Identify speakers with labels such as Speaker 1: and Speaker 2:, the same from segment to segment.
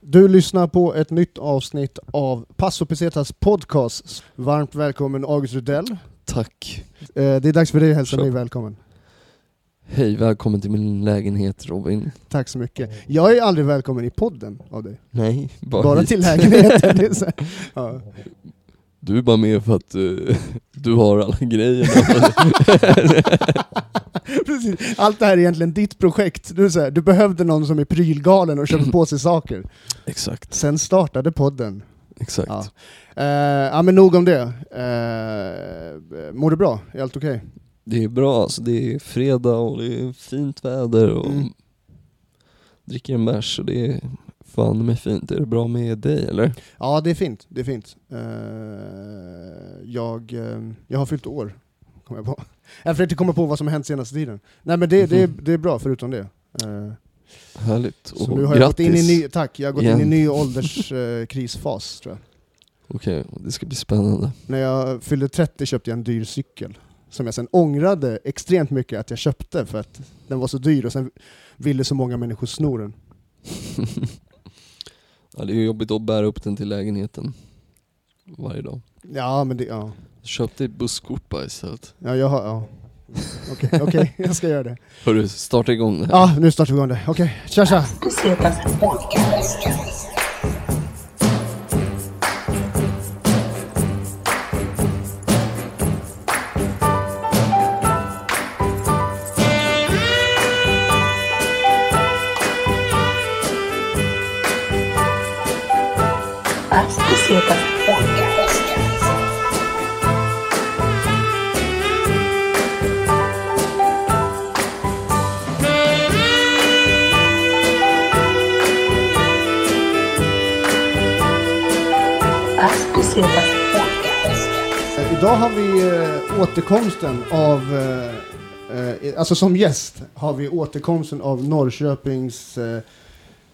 Speaker 1: Du lyssnar på ett nytt avsnitt av Passo Pesetas podcast. Varmt välkommen August Rudell.
Speaker 2: Tack.
Speaker 1: Eh, Det är dags för dig att hälsa
Speaker 2: Kör.
Speaker 1: dig välkommen.
Speaker 2: Hej, välkommen till min lägenhet Robin.
Speaker 1: Tack så mycket. Jag är aldrig välkommen i podden av dig.
Speaker 2: Nej, bara,
Speaker 1: Bara
Speaker 2: hit.
Speaker 1: till lägenheten. Det är så här. Ja.
Speaker 2: Du är bara med för att eh, du har alla grejer.
Speaker 1: Precis. Allt det här är egentligen ditt projekt. Du, är så här, du behövde någon som är prylgalen och köper på sig saker.
Speaker 2: exakt,
Speaker 1: Sen startade podden.
Speaker 2: exakt.
Speaker 1: Ja. Eh, ja men nog om det. Eh, mår du bra? Är allt okej?
Speaker 2: Det är bra, alltså, det är fredag och det är fint väder och
Speaker 1: Mm.
Speaker 2: dricker en bärs och det är fan med fint. Är det bra med dig eller?
Speaker 1: Ja, det är fint. Det är fint. Eh, jag, eh, jag har fyllt år, kommer jag på. Jag försökte komma på vad som har hänt senaste tiden. Nej men det, det,
Speaker 2: Mhm.
Speaker 1: är- det är bra, förutom det. Eh,
Speaker 2: Härligt.
Speaker 1: så
Speaker 2: och
Speaker 1: nu har jag gått
Speaker 2: grattis.
Speaker 1: in i ny, tack, jag har gått in i
Speaker 2: Igen.
Speaker 1: ny ålderskrisfas, tror jag.
Speaker 2: Okej, det ska bli spännande.
Speaker 1: När jag fyllde 30 köpte jag en dyr cykel. Som jag sen ångrade extremt mycket att jag köpte för att den var så dyr och sen ville så många människor sno den.
Speaker 2: ja, det är ju jobbigt att bära upp den till lägenheten varje dag.
Speaker 1: Ja, men det, ja.
Speaker 2: Köp dig ett busskort bara istället.
Speaker 1: Ja, jag har, ja. Okej, okej, jag ska göra det.
Speaker 2: Hörru, starta igång det här.
Speaker 1: Ja, nu startar vi igång det. Okej, tja tja!
Speaker 3: Pesetas Podcast. As Pesetas Podcast.
Speaker 1: Eh, Idag har vi eh, återkomsten av, eh, eh, alltså som gäst har vi återkomsten av Norrköpings eh,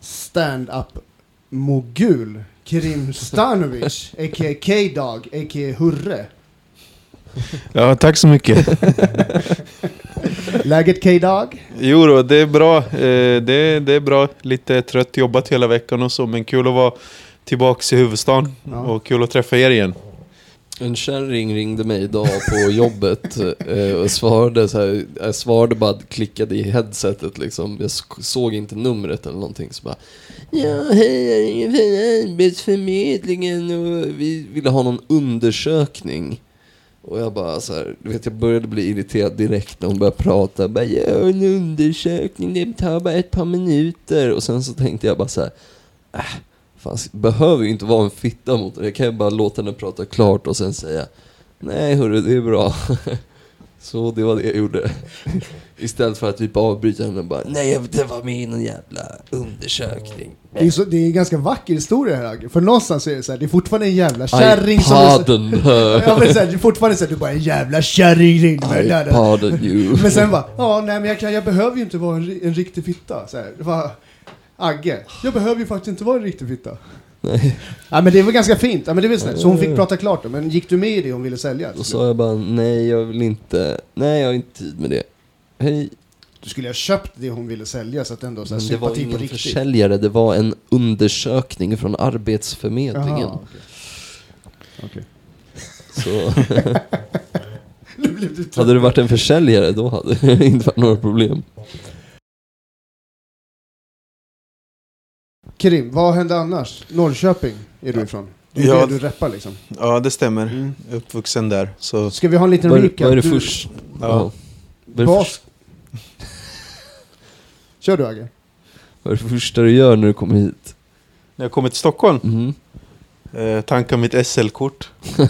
Speaker 1: stand-up-mogul Kerim Stanovic, a.k.a. K-Dog, a.k.a. Hurre.
Speaker 4: Ja, tack så mycket.
Speaker 1: Läget K-Dog?
Speaker 4: Jo då, det är bra. Eh, Det är, det är bra. Lite trött, jobbat hela veckan och så, men kul att vara tillbaks i huvudstaden
Speaker 1: Ja.
Speaker 4: och kul att träffa er igen.
Speaker 2: En kärring ringde mig idag på jobbet eh, och svarade så här, jag svarade bara, klickade i headsetet liksom. Jag sk- såg inte numret eller någonting så bara, ja hej, jag ringer från Arbetsförmedlingen och vi ville ha någon undersökning. Och jag bara så här, du vet jag började bli irriterad direkt när hon började prata. Jag Bara, ja, en undersökning, det tar bara ett par minuter. Och sen så tänkte jag bara så här, Fan, det behöver ju inte vara en fitta mot det. Jag kan ju bara låta henne prata klart och sen säga Nej hörru, det är bra. Så det var det jag gjorde. Istället för att typ avbryta henne och bara Nej, jag- det var med i någon jävla undersökning.
Speaker 1: Det är, så, det är en ganska vacker historia här, för någonstans är det så här, det är fortfarande en jävla
Speaker 2: I
Speaker 1: kärring som... är så-
Speaker 2: pardon her.
Speaker 1: Ja, men så här, det är fortfarande så här, du bara en jävla kärring ringde mig.
Speaker 2: I
Speaker 1: Där, där.
Speaker 2: pardon you.
Speaker 1: Men sen bara, ja nej men jag, kan, jag behöver ju inte vara en, ri- en riktig fitta. Så här, det var, Agge, jag behöver ju faktiskt inte vara en riktig fitta.
Speaker 2: Nej.
Speaker 1: Ja men det var ganska fint, ja, men det var snällt. Så hon fick prata klart då, men gick du med i det hon ville sälja?
Speaker 2: Då sa jag bara Nej, jag vill inte. Nej, jag har inte tid med det. Hej.
Speaker 1: Du skulle ha köpt det hon ville sälja så att ändå så här,
Speaker 2: Men det var
Speaker 1: sympati på
Speaker 2: ingen
Speaker 1: riktigt.
Speaker 2: försäljare, det var en undersökning från Arbetsförmedlingen.
Speaker 1: Jaha, okej. Okej.
Speaker 2: Så.
Speaker 1: Nu blev du trött.
Speaker 2: Hade du varit en försäljare då hade det inte varit några problem.
Speaker 1: Krim, vad hände annars? Norrköping är du ifrån? Det är
Speaker 4: Ja.
Speaker 1: där du reppar liksom.
Speaker 4: Ja, det stämmer.
Speaker 1: Mm.
Speaker 4: Uppvuxen där. Så,
Speaker 1: Ska vi ha en liten
Speaker 2: Vad är,
Speaker 1: recap?
Speaker 2: vad är det
Speaker 1: Du-
Speaker 2: först?
Speaker 4: Ja.
Speaker 2: Vad, är det
Speaker 1: Bas-
Speaker 2: först,
Speaker 1: Kör du Agge.
Speaker 2: vad är det första du gör när du kommer hit?
Speaker 4: när jag kommer till Stockholm,
Speaker 2: Mhm.
Speaker 4: eh, tankar mitt SL-kort.
Speaker 1: Det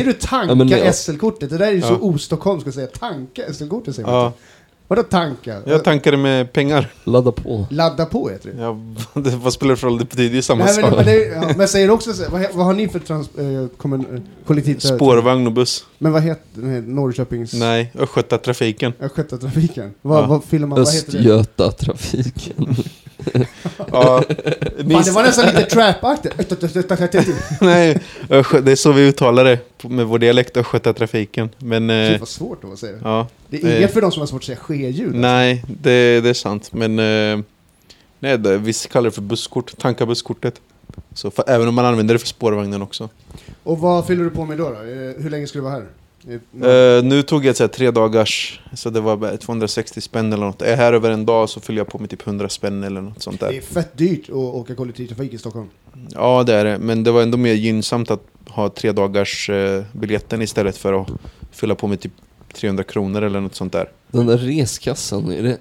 Speaker 1: är du
Speaker 2: Ja,
Speaker 1: tanka
Speaker 2: men jag-
Speaker 1: SL-kortet. Det där är ju så
Speaker 4: Ja.
Speaker 1: ostockholmskt att säga. Tanka SL-kortet säger man
Speaker 4: Ja,
Speaker 1: inte. Vadå tanka?
Speaker 4: jag tankade med pengar.
Speaker 2: Ladda på.
Speaker 1: Ladda på heter det.
Speaker 4: Ja, det- vad spelar det för roll? Det betyder ju samma
Speaker 1: Nej, men, men,
Speaker 4: sak.
Speaker 1: det, ja, men säger också så, här, vad, he- vad har ni för trans, eh, kommun, eh, kollektivtrafik?
Speaker 4: Spårvagn och buss.
Speaker 1: Men vad heter den här Norrköpings...
Speaker 4: Nej, Östgötatrafiken.
Speaker 1: Östgötatrafiken? Vad,
Speaker 4: Ja.
Speaker 1: vad fyller man, vad heter det?
Speaker 2: Östgötatrafiken.
Speaker 4: Ja, ni-
Speaker 1: Fan, det var nästan lite trap-aktigt. Östgötatrafiken.
Speaker 4: Nej, Östgö- det är så vi uttalar det på- med vår dialekt, Östgötatrafiken. Men, eh,
Speaker 1: Shit vad svårt det var att säga det.
Speaker 4: ja.
Speaker 1: Det är inget
Speaker 4: Eh.
Speaker 1: för de som har svårt att säga ske-ljud.
Speaker 4: Nej, det, det är sant. Men eh, Nej, det, vissa kallar det för busskort, tankabusskortet. Så för, även om man använder det för spårvagnen också.
Speaker 5: Och vad fyller du på med då? då? Eh, Hur länge ska du vara här? Eh,
Speaker 4: Eh, nu tog jag så här, tre dagars, så det var bara 260 spänn eller något. Är jag här över en dag så fyller jag på med typ 100 spänn eller något sånt
Speaker 5: Det
Speaker 4: där.
Speaker 5: är fett dyrt att åka kollektivtrafik i Stockholm.
Speaker 4: Ja, det är det. Men det var ändå mer gynnsamt att ha tre dagars eh, biljetten istället för att fylla på med typ 300 kronor eller något sånt där.
Speaker 2: Den där reskassan, är det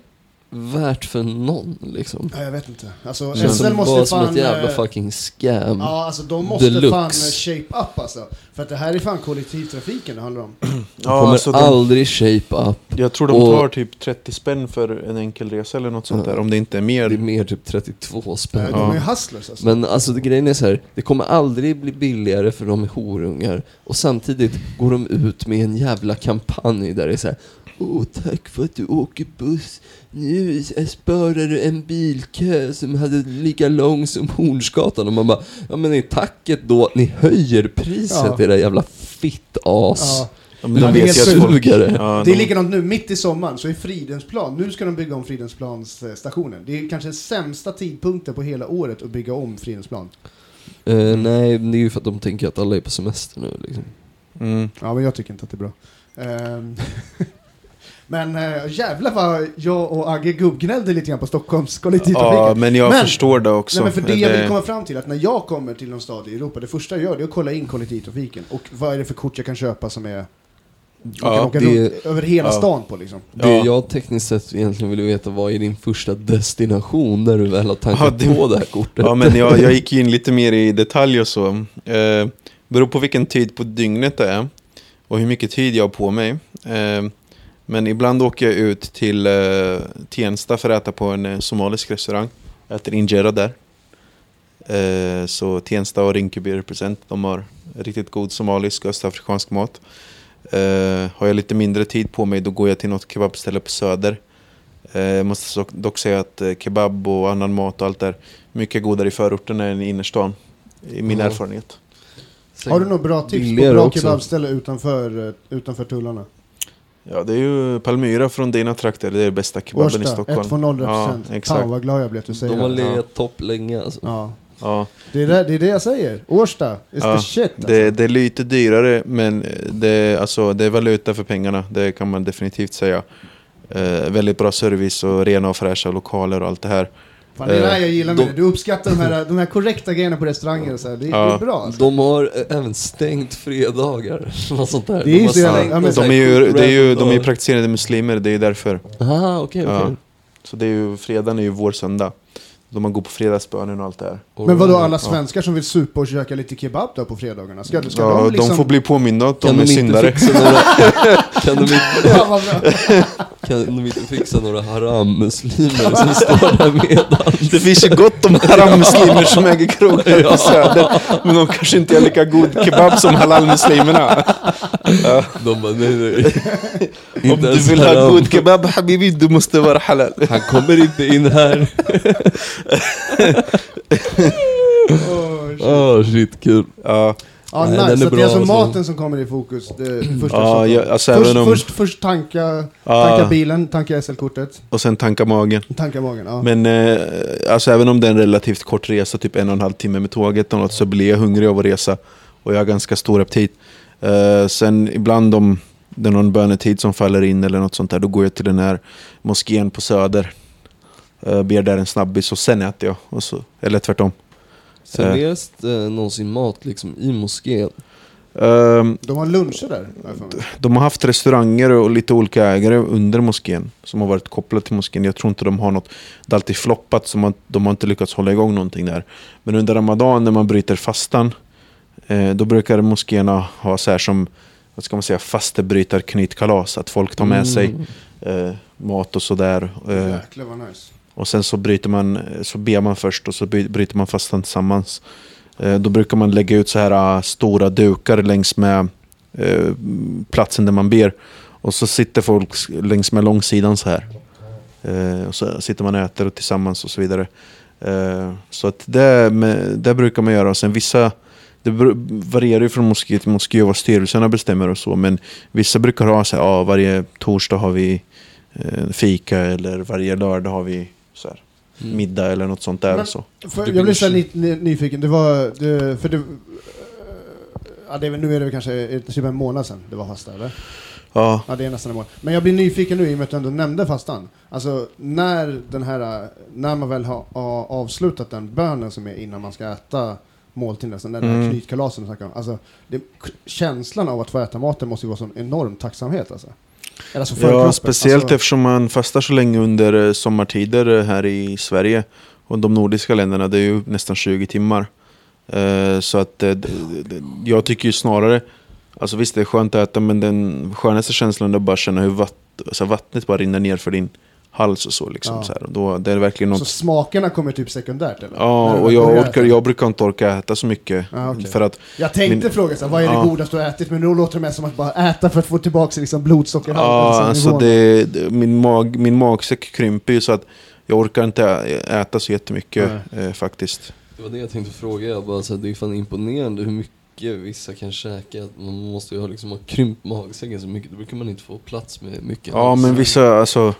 Speaker 2: värt för någon liksom?
Speaker 5: Ja, jag vet inte. Alltså,
Speaker 2: Det känns
Speaker 5: SL
Speaker 2: som,
Speaker 5: måste
Speaker 2: bara
Speaker 5: fan...
Speaker 2: som ett jävla
Speaker 5: eh,
Speaker 2: fucking scam.
Speaker 5: Ja, alltså de måste
Speaker 2: Deluxe.
Speaker 5: fan shape up alltså. För att det här är fan kollektivtrafiken det handlar om.
Speaker 2: De kommer aldrig shape up.
Speaker 4: jag tror
Speaker 2: och-
Speaker 4: de tar typ 30 spänn för en enkel resa eller något sånt
Speaker 2: Ja.
Speaker 4: där. Om det inte är
Speaker 2: Det
Speaker 4: mer.
Speaker 2: är mer typ 32
Speaker 5: Eh,
Speaker 2: spänn.
Speaker 5: De är ju hustlers alltså.
Speaker 2: Men alltså det, grejen är så här, det kommer aldrig bli billigare för de är horungar. Och samtidigt går de ut med en jävla kampanj där det är så här. Åh, tack för att du åker buss. Nu sparar du en bilkö som hade lika lång som Hornsgatan. Och man bara, ja men är tacket då att ni höjer priset
Speaker 5: Ja.
Speaker 2: era jävla fittas.
Speaker 5: Ja.
Speaker 4: Ja, men de
Speaker 5: Ja, det är
Speaker 4: vet ju
Speaker 5: helt
Speaker 4: att folk-
Speaker 2: sjukt.
Speaker 4: Ja,
Speaker 5: Det
Speaker 4: de-
Speaker 5: är likadant nu, mitt i sommaren, så är Fridhemsplan, nu ska de bygga om Fridhemsplans eh, stationen. Det är kanske den sämsta tidpunkten på hela året att bygga om Fridhemsplan.
Speaker 2: Eh, nej, men det är ju för att de tänker att alla är på semester nu liksom.
Speaker 4: Mm.
Speaker 5: Ja, men jag tycker inte att det är bra. Ehm, men äh, jävlar vad jag och Agge gubbgnällde lite grann på Stockholms kollektivtrafik.
Speaker 4: Ja, men jag
Speaker 5: Men-
Speaker 4: förstår det också.
Speaker 5: Nej, men för det jag vill komma fram till, att när jag kommer till någon stad i Europa, det första jag gör det är att kolla in kollektivtrafiken. Och vad är det för kort jag kan köpa som är... man kan
Speaker 4: Ja,
Speaker 5: åka
Speaker 2: det-
Speaker 5: runt över hela
Speaker 4: ja.
Speaker 5: stan på liksom.
Speaker 2: Det
Speaker 4: Ja.
Speaker 2: jag tekniskt sett egentligen ville veta, vad är din första destination när du väl har
Speaker 4: Ja,
Speaker 2: tankat
Speaker 4: det-
Speaker 2: på det här kortet?
Speaker 4: Ja, men jag, jag gick ju in lite mer i detalj och så. Eh, beror på vilken tid på dygnet det är och hur mycket tid jag har på mig. Eh, men ibland åker jag ut till eh, Tensta för att äta på en eh, somalisk restaurang. Jag äter injera där. Eh, så Tensta och Rinkeby represent. De har riktigt god somalisk och östafrikansk mat. Eh, har jag lite mindre tid på mig då går jag till något kebabställe på Söder. Eh, Jag måste så- dock säga att eh, kebab och annan mat och allt där mycket godare i förorten än i innerstan. I min
Speaker 2: Ja.
Speaker 4: erfarenhet.
Speaker 2: Sen-
Speaker 5: Har du några bra tips på
Speaker 2: Billigare
Speaker 5: bra
Speaker 2: också.
Speaker 5: kebabställe utanför, eh, utanför tullarna?
Speaker 4: Ja, det är ju Palmyra från dina trakter. Det är det bästa kebaben i
Speaker 5: Årsta,
Speaker 4: Stockholm.
Speaker 5: 120
Speaker 4: Ja,
Speaker 5: represent.
Speaker 4: exakt.
Speaker 5: Fan vad glad jag blev att du säger
Speaker 2: De har
Speaker 5: det.
Speaker 2: legat topp länge alltså.
Speaker 5: Ja.
Speaker 4: Ja,
Speaker 5: Det, är det. Det är det jag säger. Årsta, is
Speaker 4: Ja,
Speaker 5: the shit alltså.
Speaker 4: det, det är lite dyrare, men eh, det, är- alltså, det är valuta för pengarna. Det kan man definitivt säga. Eh, väldigt bra service och rena och fräscha lokaler och allt det här.
Speaker 5: Fan, det är det här jag
Speaker 4: Eh,
Speaker 5: gillar med
Speaker 2: de-
Speaker 5: det. Du uppskattar de här, de här korrekta grejerna på restauranger och så här. Det, det
Speaker 4: Ja.
Speaker 5: är bra alltså.
Speaker 2: De har eh, även stängt fredagar. Något sånt där.
Speaker 5: Det är ju
Speaker 2: de har
Speaker 5: så jävla-
Speaker 2: stängt
Speaker 5: ja, men-
Speaker 2: någon sån
Speaker 4: De
Speaker 2: här
Speaker 4: är ju,
Speaker 2: cool
Speaker 4: det är ju,
Speaker 2: random
Speaker 4: de är ju
Speaker 2: dag.
Speaker 4: praktiserande muslimer, det är ju därför.
Speaker 2: Aha, okej, okej.
Speaker 4: Ja. Så det är ju, fredagen är ju vår söndag. Då man går på fredagsbönen och allt det här.
Speaker 5: Men vadå
Speaker 2: Alright.
Speaker 5: alla svenskar som vill supa och käka lite kebab då på fredagarna? Ska, ska
Speaker 4: Ja,
Speaker 5: de
Speaker 4: de,
Speaker 5: liksom...
Speaker 4: får bli påminda att de
Speaker 2: Kan
Speaker 4: är
Speaker 2: de inte
Speaker 4: syndare.
Speaker 2: fixa några... Kan de inte,
Speaker 5: Ja, vad bra.
Speaker 2: kan de inte fixa några haram-muslimer som står där medan?
Speaker 4: Det finns ju gott om haram-muslimer som äger krogar på Söder. Men de kanske inte är lika god kebab som halal-muslimerna.
Speaker 2: De bara, nej, nej.
Speaker 4: Om
Speaker 2: Inte
Speaker 4: du
Speaker 2: ens
Speaker 4: vill ha
Speaker 2: haram.
Speaker 4: god kebab habibi, du måste vara halal.
Speaker 2: Alltså, Han kommer inte in här.
Speaker 5: Åh, shit.
Speaker 2: Åh, Oh, shit, kul.
Speaker 4: Ja,
Speaker 5: Ja,
Speaker 2: Nej,
Speaker 5: nice.
Speaker 2: den är
Speaker 5: Så det
Speaker 2: bra
Speaker 5: är alltså
Speaker 2: alltså.
Speaker 5: maten som kommer i fokus. Det är det första
Speaker 4: ja
Speaker 5: som
Speaker 4: jag,
Speaker 5: kommer.
Speaker 4: alltså
Speaker 5: först,
Speaker 4: även om...
Speaker 5: först, först tanka,
Speaker 4: Ja.
Speaker 5: tanka bilen, tanka SL-kortet,
Speaker 4: Och sen tanka magen.
Speaker 5: tanka magen. Ja.
Speaker 4: Men eh, alltså även om det är en relativt kort resa, typ en och en halv timme med tåget och något, så blir jag hungrig av att resa. Och jag har ganska stor aptit. Eh, sen ibland om det är någon bönetid som faller in eller något sånt där, då går jag till den här moskén på Söder. Eh, ber där en snabbis och sen äter jag. Och så, eller tvärtom.
Speaker 2: Serveras det eh, någonsin mat liksom i moskén?
Speaker 4: Eh,
Speaker 5: De har luncher där. har jag för mig.
Speaker 4: de har haft restauranger och lite olika ägare under moskén som har varit kopplade till moskén. Jag tror inte de har något. Det har alltid floppat så man, de har inte lyckats hålla igång någonting där. Men under Ramadan när man bryter fastan eh, då brukar moskéerna ha så här som vad ska man säga, fastebrytarknytkalas. Att folk tar med sig
Speaker 2: Mm.
Speaker 4: eh, mat och sådär. Eh,
Speaker 5: Jäklar vad nice.
Speaker 4: och sen så bryter man, så ber man först och så by- bryter man fastan tillsammans. Eh, Då brukar man lägga ut så här ah, stora dukar längs med eh, platsen där man ber. Och så sitter folk s- längs med långsidan så här. Eh, Och så sitter man och äter och tillsammans och så vidare. Eh, Så att det, med, det brukar man göra. Och sen vissa, det beror- varierar ju från moské till moské och vad styrelserna bestämmer och så. Men vissa brukar ha så här, ah, varje torsdag har vi eh, fika eller varje lördag har vi så här.
Speaker 2: Mm.
Speaker 4: middag eller något sånt där.
Speaker 5: Men-
Speaker 4: så.
Speaker 5: För,
Speaker 4: Du
Speaker 5: jag
Speaker 4: blir
Speaker 5: blev så här
Speaker 4: så-
Speaker 5: lite ny- nyfiken. Det var... Det, för det, eh, ja, det är väl, nu är det väl kanske eh, typ en månad sedan det var fasta, eller?
Speaker 4: Ja,
Speaker 5: Ja, det är nästan en månad. Men jag blir nyfiken nu i och med att du ändå nämnde fastan. Alltså, när, den här, eh, när man väl har har avslutat den bönen som är innan man ska äta måltiden, alltså den där
Speaker 4: Mm.
Speaker 5: knytkalasen du snackade om. Alltså, det, k- känslan av att få äta maten måste ju vara sån enorm tacksamhet alltså. Eller alltså för kroppen.
Speaker 4: ja speciellt
Speaker 5: Alltså,
Speaker 4: eftersom man fastar så länge under eh, sommartider eh, här i Sverige och de nordiska länderna. Det är ju nästan 20 timmar. Eh, Så att eh, d- d- d- jag tycker ju snarare, alltså visst det är skönt att äta men den skönaste känslan är att bara känna hur vatt, alltså vattnet bara rinner ner för din hals och så. Liksom,
Speaker 5: Ja.
Speaker 4: så här. Och då, det är verkligen
Speaker 5: så
Speaker 4: något
Speaker 5: smakerna kommer typ sekundärt eller? När
Speaker 4: Ja,
Speaker 5: du
Speaker 4: och
Speaker 5: väl
Speaker 4: jag,
Speaker 5: börjar
Speaker 4: orkar,
Speaker 5: äta.
Speaker 4: jag brukar inte orka äta så mycket.
Speaker 5: Ah, okej.
Speaker 4: För att,
Speaker 5: Jag tänkte
Speaker 4: Min-
Speaker 5: fråga så här, vad är det
Speaker 4: Ja.
Speaker 5: godaste du har ätit? Men då låter det mer som att bara äta för att få tillbaka liksom blodsockerhalten.
Speaker 4: ja,
Speaker 5: som
Speaker 4: alltså
Speaker 5: nivån.
Speaker 4: det, det- min, mag, min magsäck krymper ju så att jag orkar inte ä- äta så jättemycket eh, faktiskt.
Speaker 2: Det var det jag tänkte fråga, jag bara, så här, det är ju fan imponerande hur mycket vissa kan käka. Att Man måste ju ha, liksom, ha krympt magsäcken så mycket, då brukar man inte få plats med mycket.
Speaker 4: Ja,
Speaker 2: alls.
Speaker 4: men vissa, alltså.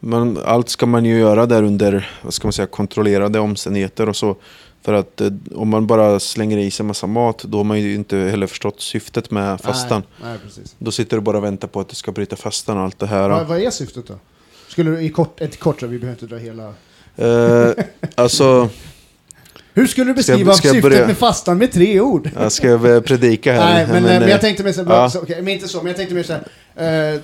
Speaker 4: Men allt ska man ju göra där under, vad ska man säga, kontrollerade omständigheter och så. För att eh, om man bara slänger i sig massa mat, då har man ju inte heller förstått syftet med fastan.
Speaker 5: Nej, nej precis.
Speaker 4: Då sitter du bara och väntar på att du ska bryta fastan och allt det här.
Speaker 5: Vad, vad är syftet då? Skulle du i kort, ett kort så vi behöver inte dra hela...
Speaker 4: Eh, alltså...
Speaker 5: Hur skulle du
Speaker 4: Ska jag-
Speaker 5: beskriva
Speaker 4: ska jag
Speaker 5: syftet
Speaker 4: börja?
Speaker 5: med fastan med tre ord?
Speaker 4: Jag ska väl predika här.
Speaker 5: Nej, men, eh, men jag tänkte mer så här,
Speaker 4: ja.
Speaker 5: så- okej, men inte så, men jag tänkte mer så här, eh, eh,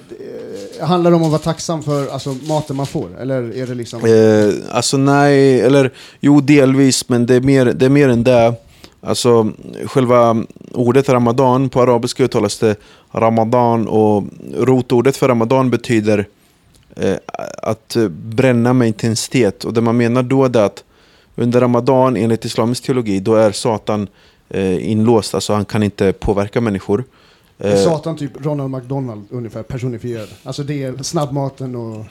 Speaker 5: handlar det om att vara tacksam för alltså, maten man får? Eller är det liksom...
Speaker 4: eh, alltså nej, eller jo delvis, men det är mer, det är mer än det. Alltså själva ordet ramadan, på arabiska uttalas det ramadan och rotordet för ramadan betyder eh, att eh, bränna med intensitet. Och det man menar då är det att under ramadan enligt islamisk teologi då är Satan eh, inlåst, alltså han kan inte påverka människor.
Speaker 5: är
Speaker 4: Eh,
Speaker 5: Satan typ Ronald McDonald ungefär personifierad. Alltså det är snabbmaten och...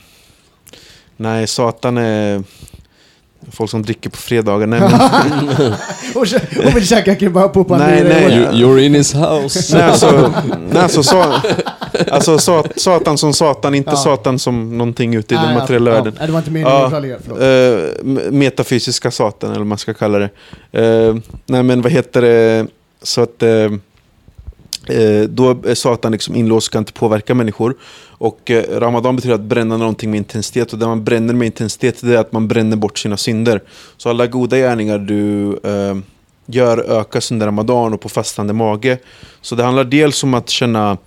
Speaker 4: Nej, Satan är folk som dricker på fredagar. Nej, men,
Speaker 5: Och, kä- och vill käka kebab och
Speaker 4: Nej,
Speaker 5: pandirer.
Speaker 4: nej.
Speaker 2: You, you're in his house.
Speaker 4: nej alltså, nej, alltså, sa, alltså sa- Satan som Satan, inte
Speaker 5: Ja.
Speaker 4: Satan som någonting ute i
Speaker 5: Nej,
Speaker 4: den
Speaker 5: ja,
Speaker 4: materiella
Speaker 5: ja.
Speaker 4: världen.
Speaker 5: Nej, det var inte meningen
Speaker 4: Ja,
Speaker 5: att raljera, förlåt.
Speaker 4: Eh, m- metafysiska Satan, eller vad man ska kalla det. Eh, nej, men vad heter det? Så att... eh, Eh, då är Satan liksom inlåst, kan inte påverka människor. Och eh, Ramadan betyder att bränna någonting med intensitet. Och det man bränner med intensitet det är att man bränner bort sina synder. Så alla goda gärningar du eh, gör ökas under Ramadan och på fastande mage. Så det handlar dels om att känna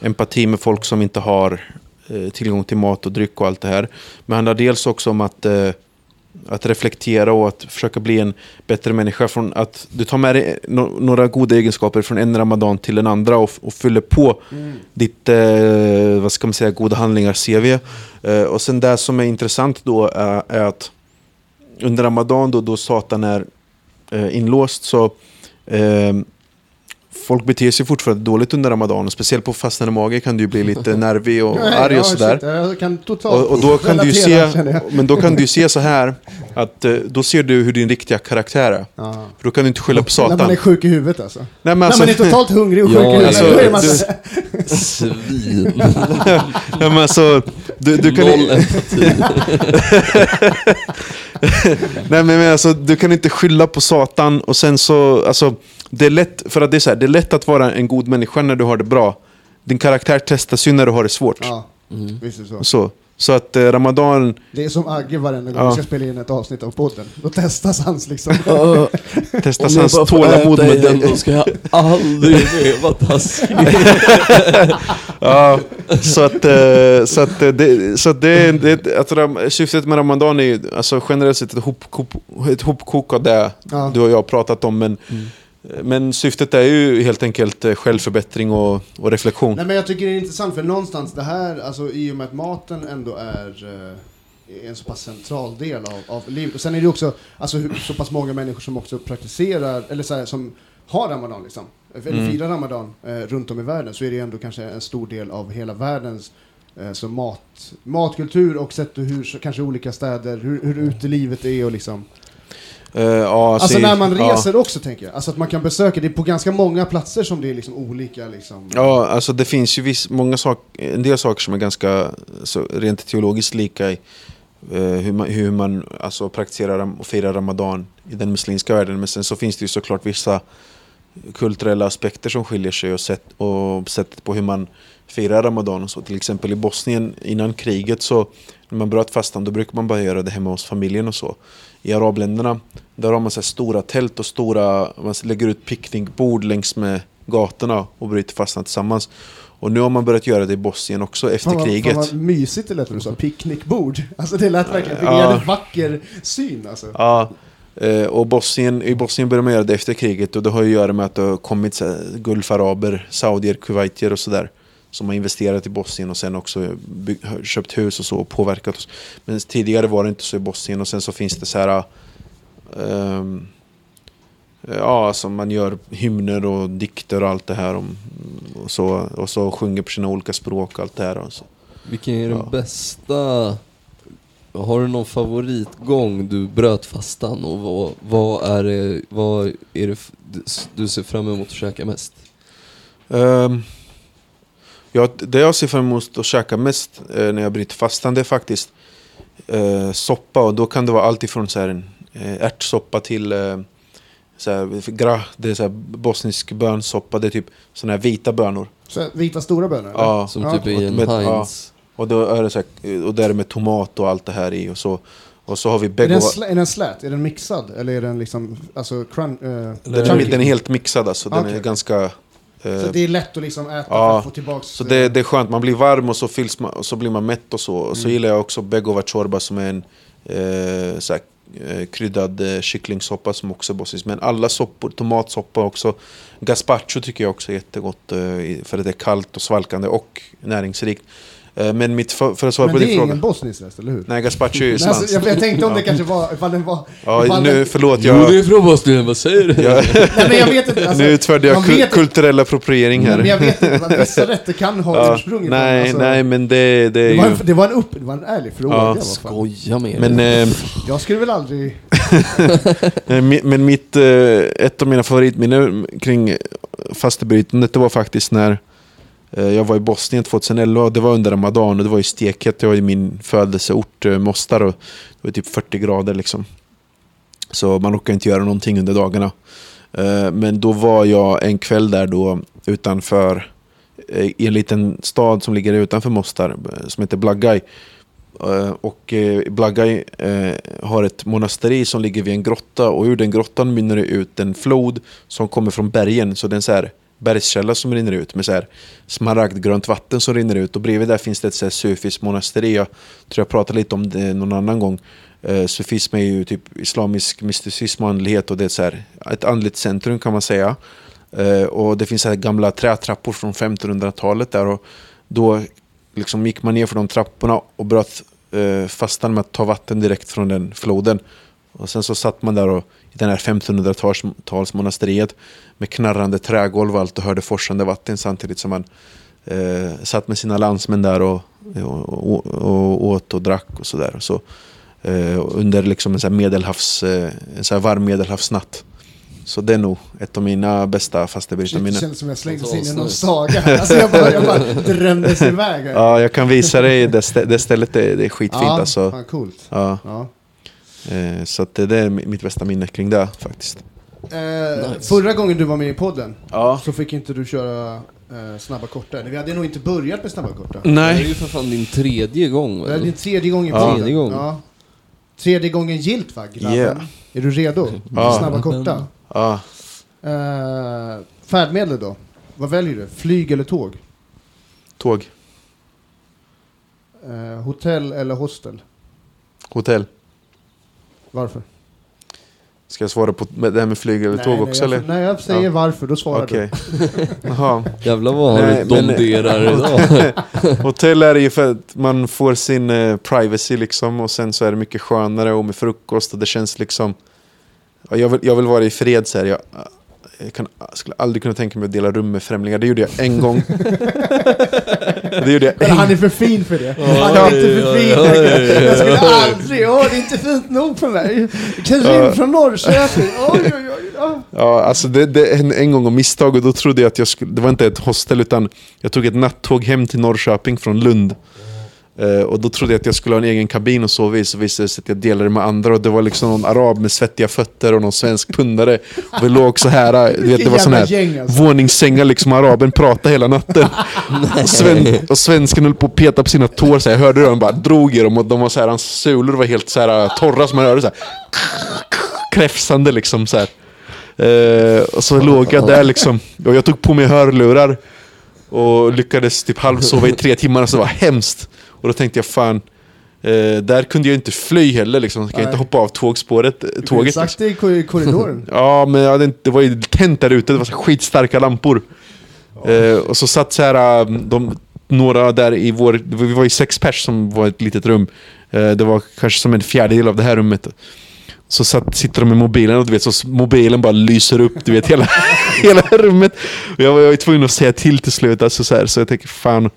Speaker 4: empati med folk som inte har eh, tillgång till mat och dryck och allt det här. Men det handlar dels också om att eh, att reflektera och att försöka bli en bättre människa. Från att du tar med dig no- några goda egenskaper från en ramadan till den andra och, f- och fyller på
Speaker 5: Mm.
Speaker 4: ditt, eh, vad ska man säga, goda handlingar CV. Eh, och sen det som är intressant då är, är att under ramadan då, då satan är eh, inlåst så eh, folk beter sig fortfarande dåligt under ramadan. Och speciellt på fastnande mage kan du ju bli lite nervig och
Speaker 5: Nej,
Speaker 4: arg
Speaker 5: ja,
Speaker 4: och sådär.
Speaker 5: shit, Jag kan totalt
Speaker 4: Och, och då kan du ju se,
Speaker 5: relatera, känner jag.
Speaker 4: men då kan du ju se så här, att eh, då ser du hur din riktiga karaktär är.
Speaker 5: Ja.
Speaker 4: För då kan du inte skylla på
Speaker 5: När man
Speaker 4: Satan.
Speaker 5: är sjuk i huvudet alltså. När
Speaker 4: Nej men
Speaker 5: man är
Speaker 4: alltså,
Speaker 5: totalt hungrig och
Speaker 2: Ja,
Speaker 5: sjuk i huvudet,
Speaker 2: alltså,
Speaker 5: då är man
Speaker 4: du-
Speaker 5: så här-
Speaker 2: Svin.
Speaker 4: nej, men alltså du, du kan
Speaker 2: Noll
Speaker 4: i-
Speaker 2: empati.
Speaker 4: Nej men men alltså, du kan inte skylla på Satan och sen så, alltså det är lätt, för att det är så här, det är lätt att vara en god människa när du har det bra. Din karaktär testas ju när du har det svårt.
Speaker 5: Ja, visst är det så.
Speaker 4: Så, så att eh, Ramadan,
Speaker 5: Det är som Agge varenda gång
Speaker 4: Ja.
Speaker 5: vi ska spela in ett avsnitt av podden. Då testas hans liksom.
Speaker 2: Om
Speaker 4: testas
Speaker 2: jag
Speaker 4: hans
Speaker 2: bara får
Speaker 4: tålamod
Speaker 2: äta
Speaker 4: med
Speaker 2: igen
Speaker 4: dig.
Speaker 2: då ska jag aldrig mer vara taskig.
Speaker 4: Ja, så att, eh, så att, eh, det, så att, det, det, att ram, syftet med Ramadan är ju alltså generellt sett ett hopkok, ett hopkok av det
Speaker 5: Ja. Mm.
Speaker 4: du och jag har pratat om. Men, men syftet är ju helt enkelt eh, självförbättring och, och reflektion.
Speaker 5: Nej men jag tycker det är intressant för någonstans det här, alltså i och med att maten ändå är eh, en så pass central del av, av livet. Och sen är det också alltså, hur- så pass många människor som också praktiserar, eller så här, som har ramadan liksom, eller firar ramadan eh, runt om i världen, så är det ändå kanske en stor del av hela världens eh, så mat, matkultur och sätt och hur så, kanske olika städer, hur, hur utelivet är och liksom.
Speaker 4: Eh, ja,
Speaker 5: Alltså
Speaker 4: så-
Speaker 5: när man
Speaker 4: ja.
Speaker 5: reser också tänker jag, alltså att man kan besöka, det är på ganska många platser som det är liksom olika liksom.
Speaker 4: Ja, alltså det finns ju viss, många sak, en del saker som är ganska så, rent teologiskt lika i eh, hur man, hur man alltså, praktiserar ram- och firar Ramadan i den muslimska världen. Men sen så finns det ju såklart vissa kulturella aspekter som skiljer sig och, sätt, och sättet på hur man firar Ramadan och så. Till exempel i Bosnien innan kriget så när man bröt fastan då brukar man bara göra det hemma hos familjen och så. I arabländerna där har man så här stora tält och stora, man lägger ut picknickbord längs med gatorna och bryter fastan tillsammans. Och nu har man börjat göra det i Bosnien också efter
Speaker 5: Fan vad,
Speaker 4: kriget.
Speaker 5: fan vad mysigt det lät när du sa picknickbord. Alltså det lät verkligen, det
Speaker 4: Ja.
Speaker 5: är en vacker syn alltså.
Speaker 4: Ja. eh, Och Bosnien, i Bosnien började man göra det efter kriget och det har ju att göra med att det har kommit så här gulfaraber, saudier, kuwaitier och sådär. Som har investerat i Bosnien och sen också bygg, har köpt hus och så och påverkat oss. Men tidigare var det inte så i Bosnien och sen så finns det så här... ehm, ja, alltså man gör hymner och dikter och allt det här. Om, och, så, och så sjunger på sina olika språk och allt det här. Och så.
Speaker 2: Vilken är den
Speaker 4: Ja.
Speaker 2: bästa... Har du någon favoritgång du bröt fastan och vad, vad är det, vad är det f- du- du ser fram emot att käka mest?
Speaker 4: Ehm, ja, det jag ser fram emot att käka mest eh, när jag bryter fastan det är faktiskt eh, soppa. Och då kan det vara allt ifrån så här, en, eh, ärtsoppa till eh, så här, gra, det är så här bosnisk bönsoppa. Det är typ sådana här vita bönor.
Speaker 5: Så vita stora bönor? eller?
Speaker 4: Ja.
Speaker 2: Som
Speaker 5: Ja.
Speaker 2: typ i en
Speaker 4: Men- ja.
Speaker 2: Heinz.
Speaker 4: Och, då är det så här, eh, och där är det med tomat och allt det här i. Och så, och så har vi
Speaker 5: Är den,
Speaker 4: begova.
Speaker 5: slä, är den slät? Är den mixad? Eller är den liksom, alltså crun, eh,
Speaker 4: Den är,
Speaker 5: chunky?
Speaker 4: den är helt mixad alltså. Den
Speaker 5: Okej.
Speaker 4: är ganska... eh,
Speaker 5: Så det är lätt att liksom äta
Speaker 4: Ja.
Speaker 5: för att få tillbaks...
Speaker 4: Så
Speaker 5: eh,
Speaker 4: det, det är skönt, man blir varm och så, fylls man, och så blir man mätt och så. Och
Speaker 5: Mm.
Speaker 4: så gillar jag också begova chorba som är en eh, så här, eh, kryddad eh, kycklingsoppa som också är bosnisk. Men alla soppor, tomatsoppa också. Gazpacho tycker jag också är jättegott eh, i- för att det är kallt och svalkande och näringsrikt. Eh, men mitt, fa- för att svara
Speaker 5: Men
Speaker 4: på
Speaker 5: det är
Speaker 4: din fråga.
Speaker 5: ingen bosnisk rest, eller hur?
Speaker 4: Nej, gazpacho är ju
Speaker 5: Men alltså,
Speaker 4: svenskt.
Speaker 5: jag, jag tänkte om det
Speaker 4: Ja.
Speaker 5: kanske var, ifall den var...
Speaker 4: Ja,
Speaker 5: ifall
Speaker 4: nu,
Speaker 5: den,
Speaker 4: förlåt,
Speaker 2: Jo, det
Speaker 4: jag,
Speaker 2: är från Bosnien, vad säger du?
Speaker 4: jag,
Speaker 5: nej, men jag vet inte. Alltså,
Speaker 4: nu utförde jag
Speaker 5: man
Speaker 4: ku-
Speaker 5: vet-
Speaker 4: kulturell appropriering
Speaker 5: Men
Speaker 4: här.
Speaker 5: jag vet inte, att vissa rätter kan ha
Speaker 4: Ja,
Speaker 5: ursprung ifrån-
Speaker 4: nej,
Speaker 5: alltså,
Speaker 4: nej, men det, det är
Speaker 5: Det var,
Speaker 4: ju...
Speaker 5: en, det, var en upp, det var en ärlig fråga.
Speaker 4: Ja,
Speaker 5: vad fan.
Speaker 2: Skoja med
Speaker 4: Men,
Speaker 2: dig.
Speaker 4: eh,
Speaker 5: Jag skulle väl aldrig...
Speaker 4: Eh, mi- Men mitt, eh, ett av mina favoritminnen kring fastebrytandet det var faktiskt när eh, jag var i Bosnien 2011. Det var under Ramadan och det var i Steket. Det var i min födelseort eh, Mostar. Och det var typ 40 grader liksom. Så man orkar inte göra någonting under dagarna. Eh, Men då var jag en kväll där då utanför eh, i en liten stad som ligger utanför Mostar eh, som heter Blagaj. Eh, Och eh, Blagaj eh, har ett monasteri som ligger vid en grotta och ur den grottan mynnar det ut en flod som kommer från bergen. Så det är en så här bergskälla som rinner ut med så här smaragdgrönt vatten som rinner ut. Och bredvid där finns det ett så här sufiskt monasteri. Jag tror jag pratade lite om det någon annan gång. Eh, Sufism är ju typ islamisk mysticism och andlighet och det är så här ett andligt centrum kan man säga. Eh, Och det finns så här gamla trätrappor från 1500-talet där. Och då liksom gick man ner för de trapporna och bröt eh, fastan med att ta vatten direkt från den floden. Och sen så satt man där och, i den här 1500-talsmonasteriet med knarrande trägolv och allt och hörde forsande vatten samtidigt som man eh, satt med sina landsmän där och, och, och, och åt och drack och sådär. Så, eh, under liksom en, så här medelhavs, eh, en så här varm medelhavsnatt. Så det är nog ett av mina bästa
Speaker 5: Shit, det
Speaker 4: fastebrytarminnen.
Speaker 5: kändes som jag slängdes in i någon
Speaker 2: Avsnitt.
Speaker 5: saga. Alltså jag bara, jag bara drömdes iväg. här.
Speaker 4: Ja, jag kan visa dig det, stä- det stället. Det, det är skitfint
Speaker 5: ja,
Speaker 4: alltså.
Speaker 5: Fan, coolt.
Speaker 4: Ja,
Speaker 5: Ja.
Speaker 4: eh, så att det, det är mi- mitt bästa minne kring det faktiskt.
Speaker 5: Eh,
Speaker 2: Nice.
Speaker 5: Förra gången du var med i podden
Speaker 4: Ja.
Speaker 5: så fick inte du köra eh, snabba korta. Eller Vi hade nog inte börjat med snabba korta.
Speaker 2: Det är
Speaker 4: Nej.
Speaker 2: ju för fan din tredje gång
Speaker 5: Det är din
Speaker 2: väl?
Speaker 5: tredje gången i
Speaker 4: Mm. Ja.
Speaker 5: podden.
Speaker 2: Tredje gången.
Speaker 5: Ja. Tredje gången gillt va, grabben?
Speaker 4: Yeah.
Speaker 5: Är du redo?
Speaker 4: Ja.
Speaker 5: Snabba korta.
Speaker 4: Ja.
Speaker 5: Eh, färdmedel då? Vad väljer du? Flyg eller tåg?
Speaker 4: Tåg.
Speaker 5: Eh, hotell eller hostel?
Speaker 4: Hotell.
Speaker 5: Varför?
Speaker 4: Ska jag svara på med- det här med flyg eller tåg också
Speaker 5: nej,
Speaker 4: eller?
Speaker 5: jag, nej, jag säger
Speaker 4: Ja.
Speaker 5: varför, då svarar
Speaker 4: Okej. Jaha.
Speaker 2: Jävlar vad
Speaker 4: Nej,
Speaker 2: du
Speaker 4: men- eh,
Speaker 2: domderar idag.
Speaker 4: Hotell är det ju för att man får sin eh, privacy liksom och sen så är det mycket skönare och med frukost och det känns liksom... Ja, jag, vill, jag vill vara i fred så här. Jag, jag kan, skulle aldrig kunna tänka mig att dela rum med främlingar. Det gjorde jag en gång. det gjorde jag
Speaker 5: du. Men han är för fin för det. Han
Speaker 2: Oj,
Speaker 5: är inte för
Speaker 2: oj,
Speaker 5: fin.
Speaker 2: oj, oj,
Speaker 5: Jag skulle
Speaker 2: oj.
Speaker 5: aldrig, åh det är inte fint nog för mig. Karin från Norrköping, oj oj oj. ja.
Speaker 4: Ja, alltså det, det en, en gång av misstag och då trodde jag att jag skulle, det var inte ett hostel utan jag tog ett nattåg hem till Norrköping från Lund. Eh, och då trodde jag att jag skulle ha en egen kabin och sova i, så visade det sig att jag delade med andra. Och det var liksom någon arab med svettiga fötter och någon svensk pundare. Och vi låg så här, eh, du vet, det var sån här
Speaker 5: Vilket jävla gäng, alltså.
Speaker 4: våningssängar, liksom araben pratade hela natten. och, sven, och svensken höll på att peta på sina tår, så här, jag hörde hur han bara drog i dem. Och de var så här, hans sulor var helt så här, eh, torra, som man hörde så här, kräfsande liksom. Så här. Eh, och så låg jag där liksom. Och jag tog på mig hörlurar. Och lyckades typ halvsova i tre timmar, så det var hemskt. Och då tänkte jag fan, eh, där kunde jag inte fly heller liksom. Jag kan
Speaker 5: Nej.
Speaker 4: inte hoppa av tågspåret, eh,
Speaker 5: Du
Speaker 4: tåget.
Speaker 5: sagt
Speaker 4: Liksom.
Speaker 5: det i kor- korridoren.
Speaker 4: Ja, men jag hade inte, det var ju tänt där ute, det var så skitstarka lampor. Eh, och så satt så här, eh, de, några där i vår, vi var ju sex pers som var ett litet rum. Eh, det var kanske som en fjärdedel av det här rummet. Så satt, sitter de med mobilen och du vet, så s- mobilen bara lyser upp du vet, hela, hela rummet. Och jag var, jag var ju tvungen att säga till till slut, alltså, så, här, så jag tänker fan.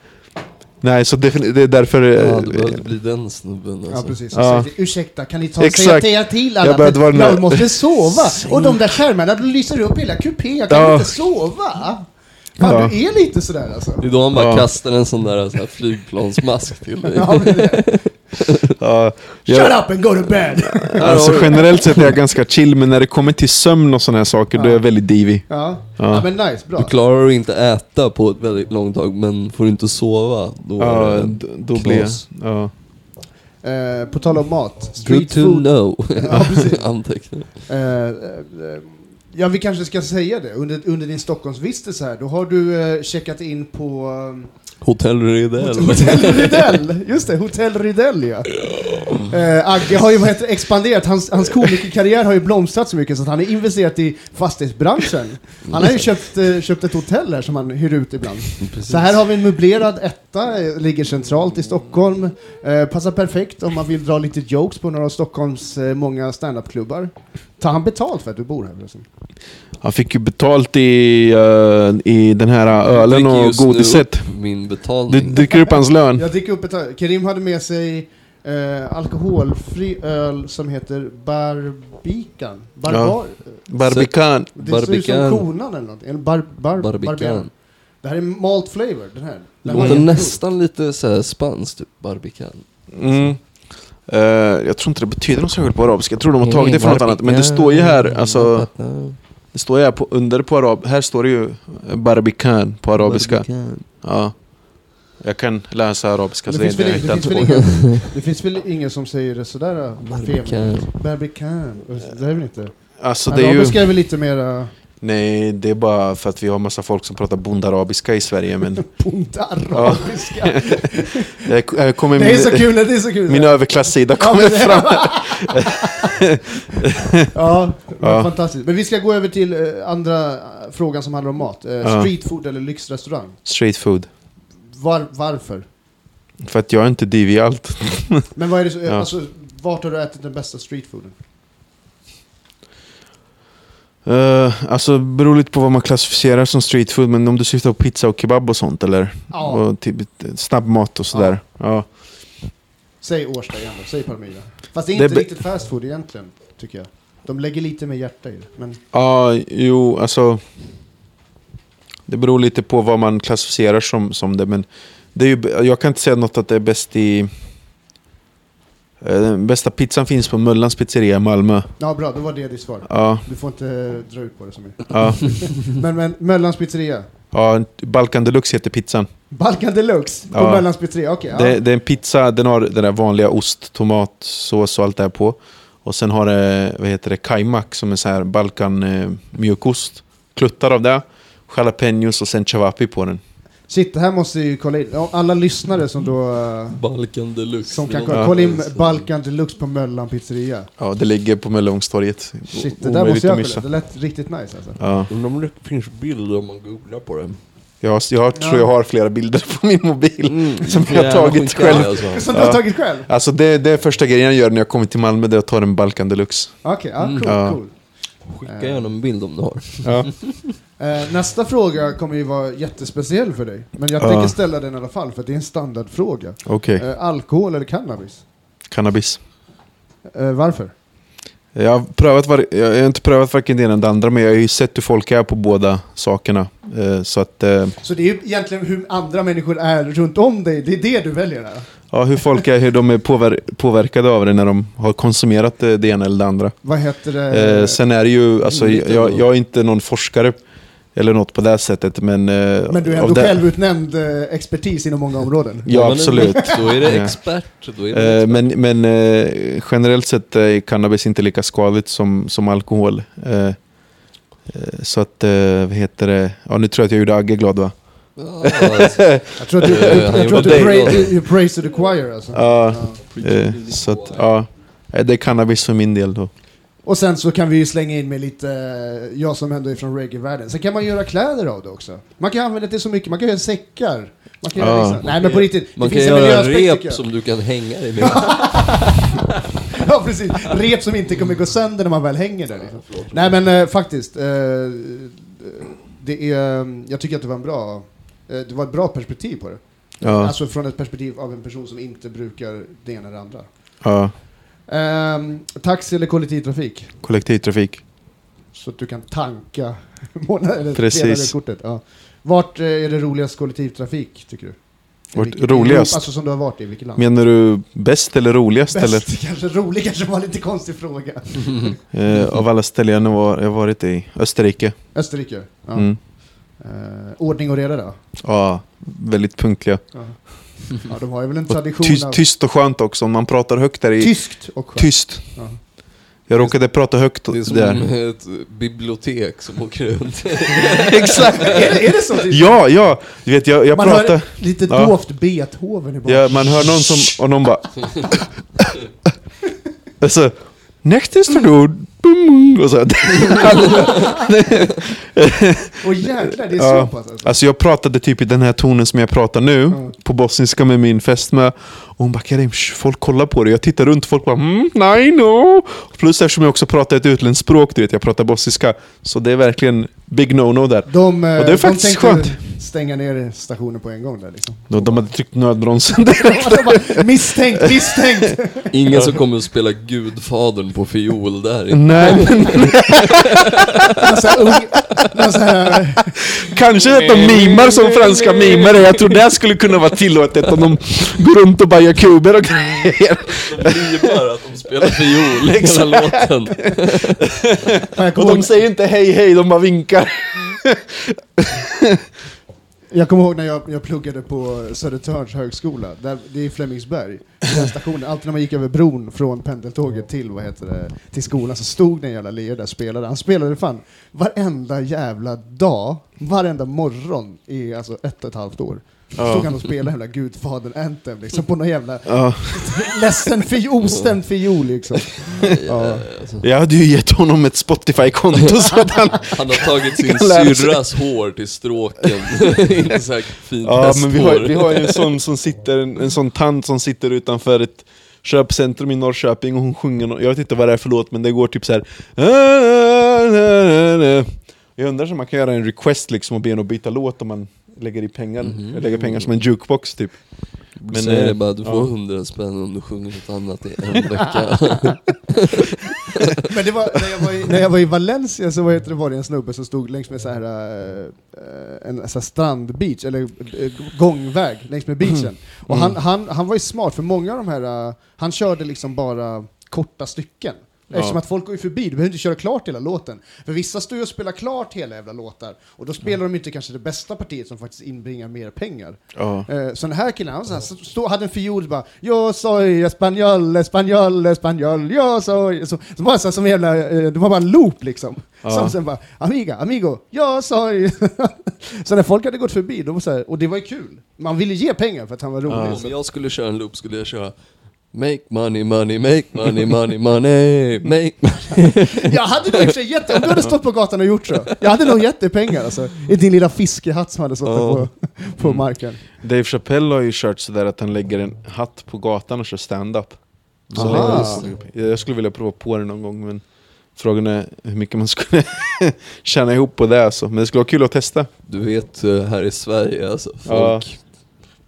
Speaker 4: Nej, så defini- det är därför... eh,
Speaker 2: Ja, du behöver inte bli den snubben
Speaker 5: Ja,
Speaker 2: alltså.
Speaker 5: precis.
Speaker 4: Ja.
Speaker 5: Så, Ursäkta, kan ni ta
Speaker 4: Exakt.
Speaker 5: säga, säga till alla?
Speaker 4: Jag började vara den där-
Speaker 5: jag måste sova! Och de där skärmarna de lyser upp hela kupén, jag kan
Speaker 4: Ja.
Speaker 5: inte sova! Fan,
Speaker 4: Ja.
Speaker 5: du är lite sådär alltså.
Speaker 2: Det är då han bara
Speaker 4: Ja.
Speaker 2: kastar en sån där så här, flygplansmask till dig.
Speaker 5: Ja, men det-
Speaker 4: ja, jag-
Speaker 5: Shut up and go to bed!
Speaker 4: Alltså generellt sett är jag ganska chill, men när det kommer till sömn och sådana här saker, då är jag väldigt divig.
Speaker 5: Ja. ja, men nice, bra.
Speaker 2: Du klarar att inte äta på ett väldigt långt tag, men får du inte sova, då är
Speaker 4: Ja,
Speaker 2: det
Speaker 4: d- då blir jag...
Speaker 2: knas.
Speaker 4: Ja.
Speaker 5: Eh, på tal om mat,
Speaker 2: Good
Speaker 5: street
Speaker 2: to
Speaker 5: food.
Speaker 2: know.
Speaker 5: Ja, precis.
Speaker 2: Anteckna.
Speaker 5: Eh, eh, eh, ja, vi kanske ska säga det. Under, under din Stockholmsvistelse här, då har du eh, checkat in på eh,
Speaker 2: Hotell Rydell.
Speaker 5: Hotell Rydell, just det, Hotell Rydell ja. Eh, Agge har ju vad heter, det, expanderat, hans, hans komikerkarriär har ju blomstrat så mycket så att han har investerat i fastighetsbranschen. Han har ju köpt, eh, köpt ett hotell här som han hyr ut ibland. Så här har vi en möblerad etta, eh, ligger centralt i Stockholm. Eh, passar perfekt om man vill dra lite jokes på några av Stockholms eh, många standupklubbar. Tar han betalt för att du bor här förresten?
Speaker 4: Han fick ju betalt i, eh, i den här
Speaker 2: Jag
Speaker 4: ölen
Speaker 2: dricker
Speaker 4: och
Speaker 2: just nu
Speaker 4: godiset.
Speaker 2: upp Min
Speaker 4: Du
Speaker 2: betalning.
Speaker 4: dricker upp hans lön.
Speaker 5: Jag dricker upp ett öl. Kerim hade med sig eh, alkoholfri öl som heter Barbican. Barbar.
Speaker 4: Barbican.
Speaker 5: Det ser ut som
Speaker 2: Barbican.
Speaker 5: konan eller någonting. En bar, bar,
Speaker 2: Barbican.
Speaker 5: barbican. Det här är malt flavor, den här.
Speaker 2: Det
Speaker 5: Den här
Speaker 2: låter
Speaker 5: är-
Speaker 2: nästan lite såhär spanskt, typ Barbican.
Speaker 4: Mm. Eh, jag tror inte det betyder något särskilt på arabiska. Jag tror de har tagit det från något annat. Men det står ju här, alltså, det står ju här på, under på arab. Här står det ju eh, Barbican på arabiska.
Speaker 2: Barbican.
Speaker 4: Ja. Jag kan läsa arabiska,
Speaker 5: Det
Speaker 4: så Alltså, det
Speaker 5: finns,
Speaker 4: är
Speaker 5: väl,
Speaker 4: inte
Speaker 5: det,
Speaker 4: helt
Speaker 5: finns väl
Speaker 4: svårt.
Speaker 5: ingen, det finns väl ingen som säger det sådär äh,
Speaker 2: Barbican.
Speaker 5: feminint? Barbican. Det är väl inte...
Speaker 4: Alltså, det är ju...
Speaker 5: Arabiska är väl lite mera...
Speaker 4: Nej, det är bara för att vi har massa folk som pratar bondarabiska i Sverige. Men
Speaker 5: Punktarabiska.
Speaker 4: jag, jag kommer
Speaker 5: Det är så
Speaker 4: min,
Speaker 5: kul, det är så kul!
Speaker 4: min överklassida kommer
Speaker 5: men det-
Speaker 4: fram.
Speaker 5: Ja,
Speaker 4: Ja.
Speaker 5: fantastiskt. Men vi ska gå över till eh, andra eh, frågan som handlar om mat. Eh,
Speaker 4: Ja.
Speaker 5: Street food eller lyxrestaurang?
Speaker 4: Street food.
Speaker 5: Var, varför?
Speaker 4: För att jag är inte div i allt.
Speaker 5: Men vad är det, så- eh,
Speaker 4: Ja.
Speaker 5: alltså, vart har du ätit den bästa streetfooden?
Speaker 4: Uh, alltså, beror lite på vad man klassificerar som street food. Men om du syftar på pizza och kebab och sånt eller?
Speaker 5: Ja.
Speaker 4: Och typ, snabbmat och sådär. Ja.
Speaker 5: Säg Årsta igen då, säg Palmyra. Fast det är
Speaker 4: Det
Speaker 5: inte
Speaker 4: be-
Speaker 5: riktigt fast food egentligen, tycker jag. De lägger lite mer hjärta i det. Men
Speaker 4: Ja, jo, alltså. Det beror lite på vad man klassificerar som, som det. Men det är ju, jag kan inte säga något att det är bäst i... eh, Den bästa pizzan finns på Möllans pizzeria i Malmö.
Speaker 5: ja, bra, då var det ditt svar.
Speaker 4: Ja,
Speaker 5: Du får inte eh, dra ut på det så mycket.
Speaker 4: ja,
Speaker 5: Men, men Möllans pizzeria.
Speaker 4: ja, Balkan Deluxe heter pizzan.
Speaker 5: Balkan Deluxe på
Speaker 4: Ja.
Speaker 5: Möllans pizzeria, okej.
Speaker 4: Det,
Speaker 5: ja.
Speaker 4: det är en pizza, den har den där vanliga ost, tomat, sås och allt det här på. Och sen har det, vad heter det, kajmak som är så här Balkan eh, mjukost. Kluttar av det, jalapenos och sen chavapi på den.
Speaker 5: Shit, det här måste ju kolla in. Ja, Alla lyssnare som då... eh,
Speaker 2: Balkan deluxe.
Speaker 5: Som kan
Speaker 2: Det
Speaker 5: kolla,
Speaker 2: låter
Speaker 5: kolla in
Speaker 2: som-
Speaker 5: Balkan Deluxe på Möllan pizzeria.
Speaker 4: Ja, det ligger på Möllevångstorget.
Speaker 5: Shit, det där
Speaker 4: Omöjligt
Speaker 5: måste
Speaker 4: att
Speaker 5: jag
Speaker 4: missa.
Speaker 5: kolla. Det lät riktigt nice alltså.
Speaker 4: Ja.
Speaker 2: Undrar om det finns bilder om man googlar på det.
Speaker 4: Jag, har- jag har- tror jag har flera bilder på min mobil
Speaker 5: Mm.
Speaker 4: som jag har tagit själv.
Speaker 5: Som du har tagit själv?
Speaker 4: Alltså det, det är första grejen jag gör när jag kommer till Malmö, det är att ta en Balkan deluxe.
Speaker 5: Okej, ja, cool,
Speaker 4: Ja.
Speaker 5: cool.
Speaker 2: Skicka gärna en bild om du har.
Speaker 4: Ja.
Speaker 5: Eh, nästa fråga kommer ju vara jättespeciell för dig. Men jag tänker ställa den i alla fall, för det är en standardfråga.
Speaker 4: Okej,
Speaker 5: Eh, alkohol eller cannabis?
Speaker 4: cannabis.
Speaker 5: Eh, varför?
Speaker 4: Jag har, prövat var, jag har inte prövat varken det ena eller det andra, men jag har ju sett hur folk är på båda sakerna. Eh, Så att, eh,
Speaker 5: Så det är ju egentligen hur andra människor är runt om dig, det är det du väljer här.
Speaker 4: ja, hur folk är, hur de är påver, påverkade av det när de har konsumerat eh, det ena eller det andra.
Speaker 5: Vad heter det?
Speaker 4: Eh, Sen är det ju, alltså,
Speaker 2: lite
Speaker 4: jag,
Speaker 2: ändå.
Speaker 4: jag är inte någon forskare eller något på det sättet, men... eh,
Speaker 5: Men du är
Speaker 4: av
Speaker 5: ändå
Speaker 4: det-
Speaker 5: självutnämnd eh, expertis inom många områden.
Speaker 4: Ja,
Speaker 2: men
Speaker 4: absolut.
Speaker 2: Då är det
Speaker 4: Ja.
Speaker 2: expert. Då är det
Speaker 4: Eh,
Speaker 2: expert.
Speaker 4: Men, men eh, generellt sett är cannabis inte lika skadligt som, som alkohol. Eh, eh, Så att, eh, vad heter det? Ja, nu tror jag att jag gjorde Agge glad va?
Speaker 2: Ja, alltså.
Speaker 5: Jag tror att du,
Speaker 2: Eh, han
Speaker 5: jag tror
Speaker 2: gjorde
Speaker 5: att du,
Speaker 2: dig
Speaker 5: pray,
Speaker 2: glad.
Speaker 5: du, you praise to the choir alltså.
Speaker 4: Ja,
Speaker 5: Ja.
Speaker 4: eh, så att, ja. Eh, Det är cannabis för min del då.
Speaker 5: Och sen så kan vi ju slänga in med lite, eh, jag som ändå är från reggae-världen. Sen kan man göra kläder av det också. Man kan använda det till så mycket, man kan göra säckar. Man kan göra
Speaker 4: Ja.
Speaker 5: liksom. Nej men på riktigt,
Speaker 2: Man
Speaker 5: det
Speaker 2: kan
Speaker 5: finns en
Speaker 2: göra
Speaker 5: miljöaspekt, tycker
Speaker 2: rep
Speaker 5: jag.
Speaker 2: som du kan hänga dig med.
Speaker 5: Ja precis, rep som inte kommer gå sönder när man väl hänger där. Liksom. Nej men eh, faktiskt, eh, det är, eh, jag tycker att det var en bra, eh, det var ett bra perspektiv på det.
Speaker 4: Ja,
Speaker 5: Alltså från ett perspektiv av en person som inte brukar det ena eller det andra.
Speaker 4: ja.
Speaker 5: Ehm, taxi eller kollektivtrafik?
Speaker 4: Kollektivtrafik.
Speaker 5: Så att du kan tanka månad, eller
Speaker 4: Precis.
Speaker 5: delar av kortet. Ja. Vart eh, är det roligast kollektivtrafik tycker du? I
Speaker 4: Vart
Speaker 5: vilket-
Speaker 4: roligast?
Speaker 5: Alltså som du har varit i, vilket land?
Speaker 4: Menar du bäst eller roligast eller?
Speaker 5: Bäst, kanske rolig kanske var en lite konstig fråga.
Speaker 4: Eh, av alla ställen jag nu var, jag varit i. Österrike.
Speaker 5: Österrike? Ja.
Speaker 4: Mm.
Speaker 5: Eh, ordning och reda då?
Speaker 4: Ja, väldigt punktliga.
Speaker 5: Ja. ja, de har ju väl en
Speaker 4: Och
Speaker 5: tradition
Speaker 4: tyst,
Speaker 5: av...
Speaker 4: tyst och skönt också, om man pratar högt där i...
Speaker 5: Tyskt och skönt.
Speaker 4: Tyst.
Speaker 5: Ja.
Speaker 4: Jag råkade prata högt
Speaker 2: Det är som
Speaker 4: där.
Speaker 2: ett bibliotek som åker runt.
Speaker 4: Exakt!
Speaker 5: är, det, är det så? Tyst?
Speaker 4: Ja, ja! Du vet, jag, jag
Speaker 5: Man
Speaker 4: pratar...
Speaker 5: hör lite
Speaker 4: Ja.
Speaker 5: dovt Beethoven i bakgrunden.
Speaker 4: Ja, man hör någon som... Och någon bara... alltså... Next is to do... boom, Och så.
Speaker 5: Och jäklar, det är
Speaker 4: Ja.
Speaker 5: så pass alltså.
Speaker 4: Alltså jag pratade typ i den här tonen som jag pratar nu, på bosniska med min fästmö. Och hon bara Karim, shh, folk kollar på dig. Jag tittar runt, folk bara mm, nej no. Plus eftersom jag också pratar ett utländskt språk, du vet, jag pratar bosniska. Så det är verkligen big no-no där.
Speaker 5: De, eh,
Speaker 4: Och det är faktiskt
Speaker 5: de tänkte
Speaker 4: skönt.
Speaker 5: stänga ner stationen på en gång där liksom.
Speaker 4: De, de hade tryckt nödbromsen där.
Speaker 5: Ja, de bara, misstänkt, misstänkt!
Speaker 2: Ingen som kommer att spela Gudfadern på fiol där.
Speaker 4: Nej, men
Speaker 5: Någon sån här ung, någon sån här,
Speaker 4: kanske att de mimar som franska mimar är. Jag tror det skulle kunna vara tillåtet om de går runt och bajar kuber och
Speaker 5: Mm.
Speaker 4: grejer.
Speaker 2: De livar att de spelar fiol hela låten.
Speaker 5: jag,
Speaker 4: Och
Speaker 5: kommer
Speaker 4: de
Speaker 5: ihåg,
Speaker 4: säger inte hej hej, de bara vinkar.
Speaker 5: jag kommer ihåg när jag, jag pluggade på Södertörns högskola, där, det är Flemingsberg, den stationen, alltid när man gick över bron från pendeltåget till, vad heter det, till skolan så stod den jävla Leo där och spelade. Han spelade fan varenda jävla dag, varenda morgon i alltså ett och ett halvt år. Stod han och spelade jävla Gudfadern Anthem liksom på någon jävla
Speaker 4: Ja.
Speaker 5: ledsen fiol, ostämd fiol liksom. Ja.
Speaker 4: Jag hade ju gett honom ett Spotify-konto så att han...
Speaker 2: Han har tagit sin
Speaker 4: Kan lära sig.
Speaker 2: syrras hår till stråken. Inte så här fint
Speaker 4: Ja, men vi har,
Speaker 2: hästhår.
Speaker 4: vi har ju en sån som sitter, en, en sån tant som sitter utanför ett köpcentrum i Norrköping och hon sjunger, nå- jag vet inte vad det är för låt, men det går typ så här. Jag undrar om man kan göra en request liksom och be henne att byta låt om man lägger i pengar, lägger pengar som en jukebox typ.
Speaker 2: Men Säger
Speaker 4: eh,
Speaker 2: Mhm. det bara, du får
Speaker 4: ja.
Speaker 2: hundra spänn om du sjunger något annat i en vecka.
Speaker 5: Men det var, när, jag var i, när jag var i Valencia så var, heter det, var det en snubbe som stod längs med så här, eh, en så här strandbeach, eller eh, gångväg längs med beachen. Och han, han, han var ju smart, för många av de här, eh, han körde liksom bara korta stycken. Eftersom att folk går ju förbi, du behöver inte köra klart hela låten. För vissa står ju och spelar klart hela jävla låtar, och då spelar de inte kanske det bästa partiet som faktiskt inbringar mer pengar.
Speaker 4: Ja.
Speaker 5: Eh, Så den här killen, han var så här, så- stod, hade en fiol bara Yo soy español, español, español, yo soy så, så bara så här, som en jävla, eh, det var bara en loop liksom. Som sen bara Amiga, amigo, yo soy Så när folk hade gått förbi, de var så här, och det var ju kul. Man ville ge pengar för att han var rolig.
Speaker 2: Om jag skulle köra en loop skulle jag köra Make money, money, make money, money, money, make money.
Speaker 5: Jag hade nog i och för sig gett om du hade stått på gatan och gjort så. Jag hade nog gett dig pengar alltså. I din lilla fiskehatt som hade stått där på, på marken.
Speaker 4: Dave Chappelle har ju kört sådär att han lägger en hatt på gatan och kör stand-up. Så
Speaker 5: Aha.
Speaker 4: lägger han- Jag skulle vilja prova på det någon gång men frågan är hur mycket man skulle tjäna ihop på det alltså. Men det skulle vara kul att testa.
Speaker 2: Du vet eh, här i Sverige alltså, folk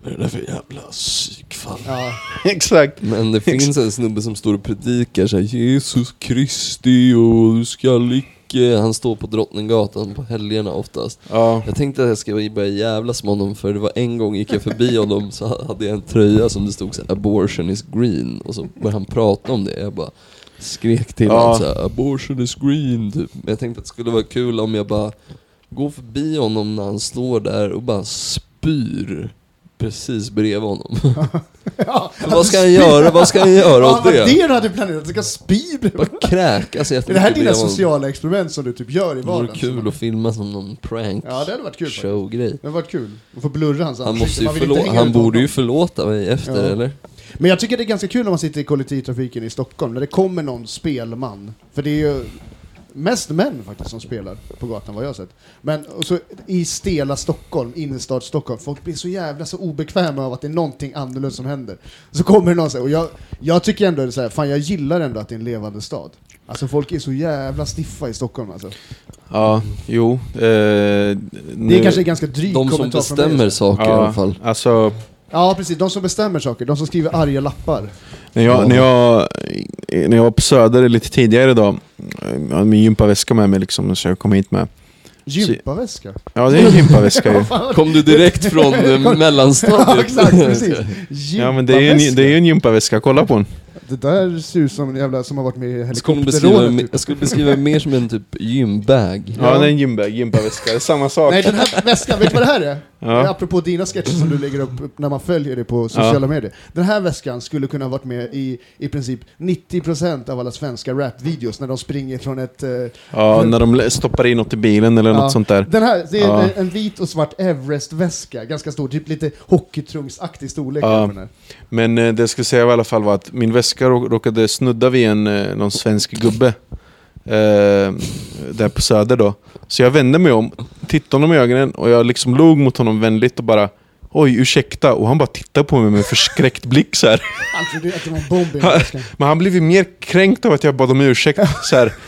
Speaker 2: Vad är det där för jävla psykfall?
Speaker 5: Ja.
Speaker 4: Exakt.
Speaker 2: Men det finns en snubbe som står och predikar såhär Jesus Kristi och du ska icke... Han står på Drottninggatan på helgerna oftast.
Speaker 4: Ja.
Speaker 2: Jag tänkte att jag ska börja jävlas med honom för det var en gång gick jag förbi honom så hade jag en tröja som det stod så här, 'abortion is green' och så började han prata om det. Jag bara skrek till
Speaker 4: Ja.
Speaker 2: honom så här, 'abortion is green' typ. Men jag tänkte att det skulle vara kul om jag bara går förbi honom när han står där och bara spyr precis bredvid honom.
Speaker 5: ja.
Speaker 2: Vad ska han göra? Vad ska han göra
Speaker 5: Ja,
Speaker 2: åt
Speaker 5: vad
Speaker 2: det?
Speaker 5: det du hade planerat? Du ska spy bredvid.
Speaker 2: Bara kräkas
Speaker 5: Är det här
Speaker 2: jättemycket
Speaker 5: dina
Speaker 2: bredvid honom.
Speaker 5: sociala experiment som du typ gör i
Speaker 2: Det vore
Speaker 5: vardagen?
Speaker 2: kul att filma som någon prank
Speaker 5: Ja, det hade varit kul faktiskt.
Speaker 2: showgrej.
Speaker 5: Det hade varit kul. Att få blurra hans
Speaker 2: Han,
Speaker 5: ansikte.
Speaker 2: måste ju
Speaker 5: Man vill inte
Speaker 2: förlå-
Speaker 5: hänga
Speaker 2: han
Speaker 5: ut
Speaker 2: borde ju
Speaker 5: honom.
Speaker 2: förlåta mig efter,
Speaker 5: Ja.
Speaker 2: eller?
Speaker 5: Men jag tycker det är ganska kul när man sitter i kollektivtrafiken i Stockholm, när det kommer någon spelman. För det är ju mest män faktiskt som spelar på gatan, vad jag har sett. Men och så i stela Stockholm, innerstad Stockholm, folk blir så jävla så obekväma av att det är någonting annorlunda som händer. Så kommer det någon så här, och jag, jag tycker ändå det är så här, fan jag gillar ändå att det är en levande stad. Alltså folk är så jävla stiffa i Stockholm alltså.
Speaker 4: Ja, jo. Eh,
Speaker 5: Det är
Speaker 4: nu-
Speaker 5: kanske en ganska dryg
Speaker 2: De som
Speaker 5: kommentar från mig.
Speaker 2: bestämmer saker i alla fall.
Speaker 4: Alltså,
Speaker 5: Ja, precis. De som bestämmer saker. De som skriver arga lappar.
Speaker 4: när jag, när, jag, när jag var på Söder lite tidigare idag, jag hade min gympaväska med mig liksom, så jag kom hit med.
Speaker 5: Gympaväska.
Speaker 4: Ja, det är en gympaväska ju.
Speaker 2: Kom du direkt från eh,
Speaker 5: Ja,
Speaker 2: mellanstadiet?
Speaker 5: exakt. Precis.
Speaker 4: Ja, men det är ju en, det är ju en gympaväska, kolla på den.
Speaker 5: Det där ser ut som en jävla som har varit med i
Speaker 2: Jag skulle, beskriva,
Speaker 5: helikopterrådet.
Speaker 2: jag
Speaker 5: Typ.
Speaker 2: skulle beskriva mer som en typ gymbag.
Speaker 4: Ja, det är en gymba, gympaväska, det är samma sak.
Speaker 5: Nej, den här väskan, vet du vad det här är?
Speaker 4: Ja.
Speaker 5: Det är apropå dina sketcher som du lägger upp när man följer dig på sociala medier. Den här väskan skulle kunna ha varit med i i princip 90% av alla svenska rapvideos när de springer från ett... eh,
Speaker 4: Ja, när de lä- stoppar in något i bilen eller
Speaker 5: ja.
Speaker 4: något sånt där.
Speaker 5: Den här, det är
Speaker 4: Ja.
Speaker 5: en, en vit och svart Everest-väska. Ganska stor, typ lite hockeytrumsaktig storlek.
Speaker 4: Ja.
Speaker 5: på den här.
Speaker 4: Men eh, det jag skulle säga var i alla fall var att min väska rå- råkade snudda vid en, eh, någon svensk gubbe. Eh, där på Söder då. Så jag vände mig om, tittade honom i ögonen och jag liksom log mot honom vänligt och bara Oj, ursäkta. Och han bara tittade på mig med en förskräckt blick så här.
Speaker 5: Han trodde att Alltså, det var en bomb i den
Speaker 4: Han-
Speaker 5: väskan.
Speaker 4: Men han blev ju mer kränkt av att jag bad om ursäkt så här.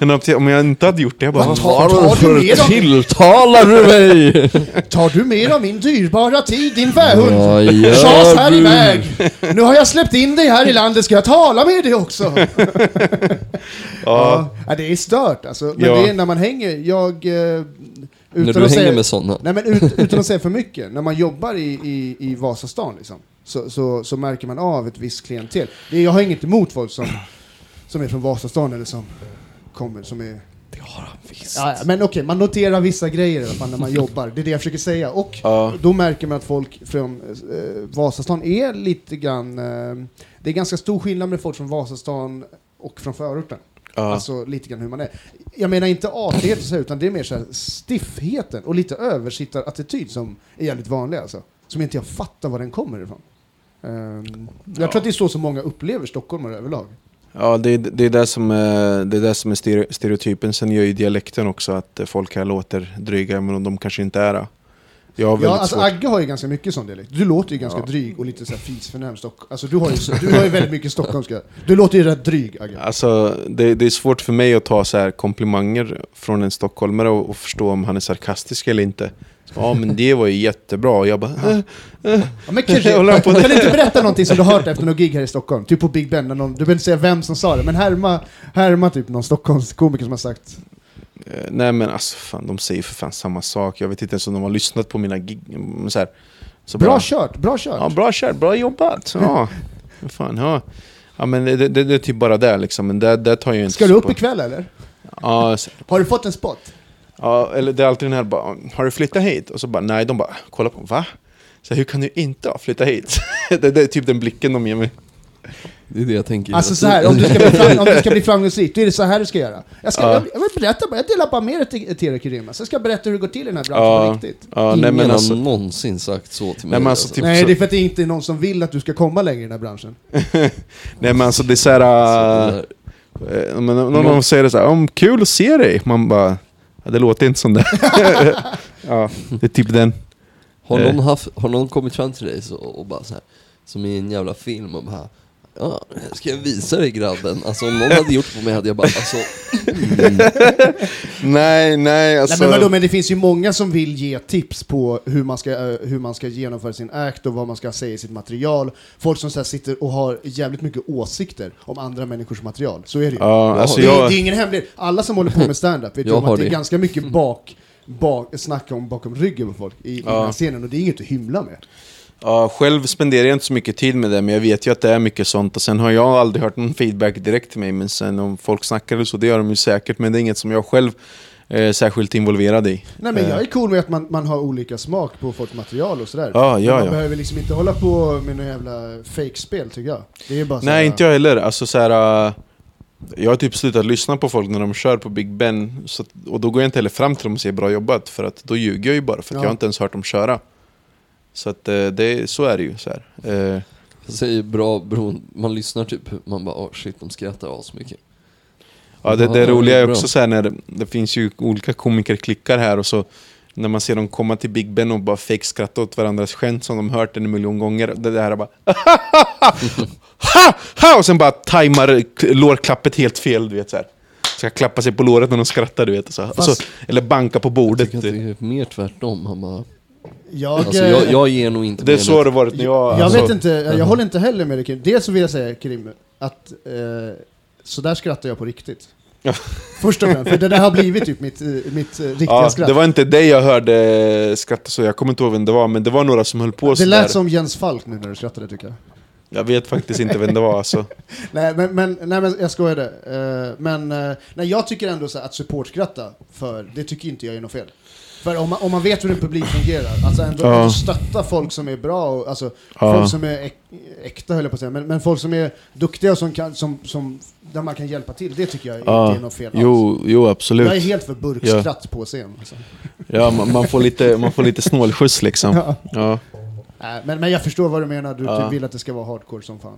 Speaker 4: Än att jag- om jag inte hade gjort det. Jag bara,
Speaker 5: Vad tar- tar du med dem?
Speaker 2: Tilltalar du mig?
Speaker 5: Tar du med av min dyrbara tid, din fähund?
Speaker 2: Vad gör
Speaker 5: Schas här
Speaker 2: du?
Speaker 5: iväg! Nu har jag släppt in dig här i landet, ska jag tala med dig också?
Speaker 4: ja.
Speaker 5: ja det är stört alltså. Men
Speaker 4: Ja.
Speaker 5: det är när man hänger, jag... eh, Utan
Speaker 2: När du
Speaker 5: att
Speaker 2: hänger
Speaker 5: säga,
Speaker 2: med sådana.
Speaker 5: Nej men ut, utan att säga för mycket, när man jobbar i, i, i Vasastan liksom, så, så, så märker man av ett visst klientel. Det, jag har inget emot folk som, som är från Vasastan eller som kommer, som är
Speaker 2: Det har han visst.
Speaker 5: Ja, ja, men okej, man noterar vissa grejer i alla fall när man jobbar. Det är det jag försöker säga. Och
Speaker 4: Ja.
Speaker 5: då märker man att folk från eh, Vasastan är lite grann... Eh, det är ganska stor skillnad med folk från Vasastan och från förorten.
Speaker 4: Ja.
Speaker 5: Alltså lite grann hur man är. Jag menar inte artighet och så, här, utan det är mer så här stiffheten och lite översittarattityd som är jävligt vanlig alltså. Som inte jag fattar var den kommer ifrån. Ehm, jag tror att det är så som många upplever stockholmare överlag.
Speaker 4: Ja, det, är- det, är där som, eh, det är där som är stereo- stereotypen. Sen gör ju dialekten också att eh, folk här låter dryga, men de kanske inte är det. Jag har väldigt
Speaker 5: Ja, alltså
Speaker 4: svårt.
Speaker 5: Agge har ju ganska mycket sån dialekt. Du låter ju ganska
Speaker 4: Ja.
Speaker 5: dryg och lite så här fisförnäm. Stock- alltså du har, ju, du har ju väldigt mycket stockholmska. Du låter ju rätt dryg, Agge.
Speaker 4: Alltså, det, det är svårt för mig att ta så här komplimanger från en stockholmare och, och förstå om han är sarkastisk eller inte. Ja, men det var ju jättebra. Och Jag bara, eh,
Speaker 5: Ja, men kanske,
Speaker 4: Jag håller på
Speaker 5: kan du inte berätta någonting som du har hört efter någon gig här i Stockholm? Typ på Big Ben, när någon, du behöver inte säga vem som sa det, men härma, härma typ någon Stockholmskomiker som har sagt
Speaker 4: eh, nej men alltså fan, de säger för fan samma sak. Jag vet inte ens om de har lyssnat på mina gig. Men Så här, så
Speaker 5: Bra
Speaker 4: bara-
Speaker 5: kört, bra kört.
Speaker 4: Ja, bra kört, bra jobbat. Ja, Vad fan, ja. ja men det, det, det är typ bara där liksom. Men där, där tar jag inte
Speaker 5: Ska du upp
Speaker 4: på-
Speaker 5: ikväll eller?
Speaker 4: Ja, så-
Speaker 5: Har du fått en spot?
Speaker 4: ja, eller det är alltid den här bara, har du flyttat hit? Och så bara, nej, de bara, kolla på, va? Så här, hur kan du inte ha flyttat hit? det, det är typ den blicken de ger mig.
Speaker 2: Det är det jag tänker.
Speaker 5: Alltså så här, om du ska bli, fram, om du ska bli framgångsrik, då är det så här du ska göra. Jag, ska,
Speaker 4: Ja.
Speaker 5: jag, jag vill berätta, bara- jag delar bara med dig till er Kirima, sen ska jag berätta hur det går till i den här branschen på
Speaker 4: Ja,
Speaker 5: riktigt.
Speaker 4: ja
Speaker 2: Ingen
Speaker 4: nej men
Speaker 2: har
Speaker 4: alltså,
Speaker 2: någonsin sagt så till mig.
Speaker 4: Nej, men alltså, typ-
Speaker 5: Nej,
Speaker 4: så-
Speaker 5: det är för att det inte är någon som vill att du ska komma längre i den här branschen.
Speaker 4: nej men alltså det är så här,
Speaker 2: Så det
Speaker 4: äh,
Speaker 2: där.
Speaker 4: eh, men någon
Speaker 5: Mm.
Speaker 4: av dem säger det så här, om kul att se dig. Man bara, ja, det låter inte som det. ja, det är typ den.
Speaker 2: Har
Speaker 4: Eh.
Speaker 2: någon, haft, har någon kommit fram till dig så, och bara så här, som i en jävla film och bara ja, ska jag visa dig grabben? Alltså om någon hade gjort på mig hade jag bara, alltså,
Speaker 4: Nej, nej alltså.
Speaker 5: Nej, men, vadå, men det finns ju många som vill ge tips på hur man ska, eh, hur man ska genomföra sin act och vad man ska säga i sitt material. Folk som så här sitter och har jävligt mycket åsikter om andra människors material. Så är det ju.
Speaker 4: ja, alltså
Speaker 5: det, är-
Speaker 4: jag,
Speaker 5: det är ingen hemlighet. Alla som håller på med stand-up vet ju
Speaker 2: Jag
Speaker 5: om
Speaker 2: har
Speaker 5: att det är
Speaker 2: det.
Speaker 5: ganska mycket bak, bak, snack om bakom ryggen på folk i, i den här scenen och det är inget att hymla med.
Speaker 4: ja, själv spenderar jag inte så mycket tid med det, men jag vet ju att det är mycket sånt. Och sen har jag aldrig hört någon feedback direkt till mig, men sen om folk snackar eller så, det gör de ju säkert. Men det är inget som jag själv är särskilt involverad i.
Speaker 5: Nej men jag är cool med att man, man har olika smak på folks material och sådär.
Speaker 4: Ja, ja,
Speaker 5: Men man
Speaker 4: ja.
Speaker 5: behöver liksom inte hålla på med några jävla fake-spel tycker jag. Det är bara så
Speaker 4: Nej,
Speaker 5: här-
Speaker 4: inte jag heller. Alltså, så här, äh, jag har typ slutat lyssna på folk när de kör på Big Ben. Så, att- och då går jag inte heller fram till dem och säger bra jobbat. För att då ljuger jag ju bara, för att
Speaker 5: Ja.
Speaker 4: jag har inte ens hört dem köra. Så att, eh, det, så är det ju. Så här. Eh,
Speaker 2: jag säger bra bron, man lyssnar typ, man bara, oh, shit de skrattar asmycket.
Speaker 4: Ja, det,
Speaker 2: Ja,
Speaker 4: det
Speaker 2: det är
Speaker 4: roliga är
Speaker 2: bra.
Speaker 4: också så här när det finns ju olika komikerklickar här och så när man ser dem komma till Big Ben och bara fejkskratta åt varandras skämt som de hört en miljon gånger. Det där är bara... ha, ha, och sen bara tajmar k- lårklappet helt fel, du vet så här. Ska klappa sig på låret när de skrattar, du vet. Och så. Och
Speaker 5: Fast-
Speaker 4: så, eller banka på
Speaker 2: Jag
Speaker 4: bordet.
Speaker 2: tycker att det är mer tvärtom, han bara,
Speaker 5: Jag,
Speaker 2: alltså
Speaker 5: eh,
Speaker 2: jag, jag ger nog inte
Speaker 4: Det är
Speaker 2: mer
Speaker 4: så det varit när jag...
Speaker 5: Jag
Speaker 4: alltså,
Speaker 5: vet inte, jag håller inte heller med dig Krim. Dels så vill jag säga Krim, att eh, så där skrattar jag på riktigt.
Speaker 4: Ja.
Speaker 5: Först och främst, för det där har blivit typ mitt, eh, mitt eh, riktiga
Speaker 4: Ja,
Speaker 5: skratt.
Speaker 4: det
Speaker 5: Det,
Speaker 4: var inte dig jag hörde skratta så, jag kommer inte ihåg vem det var, men det var några som höll på så där.
Speaker 5: lät som Jens Falk nu när du skrattade tycker jag.
Speaker 4: Jag vet faktiskt inte vem det var alltså.
Speaker 5: Nej men, men, nej, men jag skojade. Eh, men eh, nej, jag tycker ändå så här att supportskratta, för det tycker inte jag är något fel. För om man, om man vet hur en publik fungerar, alltså ändå,
Speaker 4: Ja.
Speaker 5: ändå stötta folk som är bra, och, alltså
Speaker 4: Ja.
Speaker 5: folk som är äk, äkta höll jag på att säga, men, men folk som är duktiga och som kan, som, som, där man kan hjälpa till, det tycker jag
Speaker 4: Ja.
Speaker 5: inte är något fel alls.
Speaker 4: Jo, jo, absolut.
Speaker 5: Jag är helt för burkskratt på scen. Alltså.
Speaker 4: Ja, man, man, får lite, man får lite snålskjuts liksom. Ja. Ja.
Speaker 5: Nej, Eh, men, men jag förstår vad du menar, du
Speaker 4: Ja.
Speaker 5: typ vill att det ska vara hardcore som fan.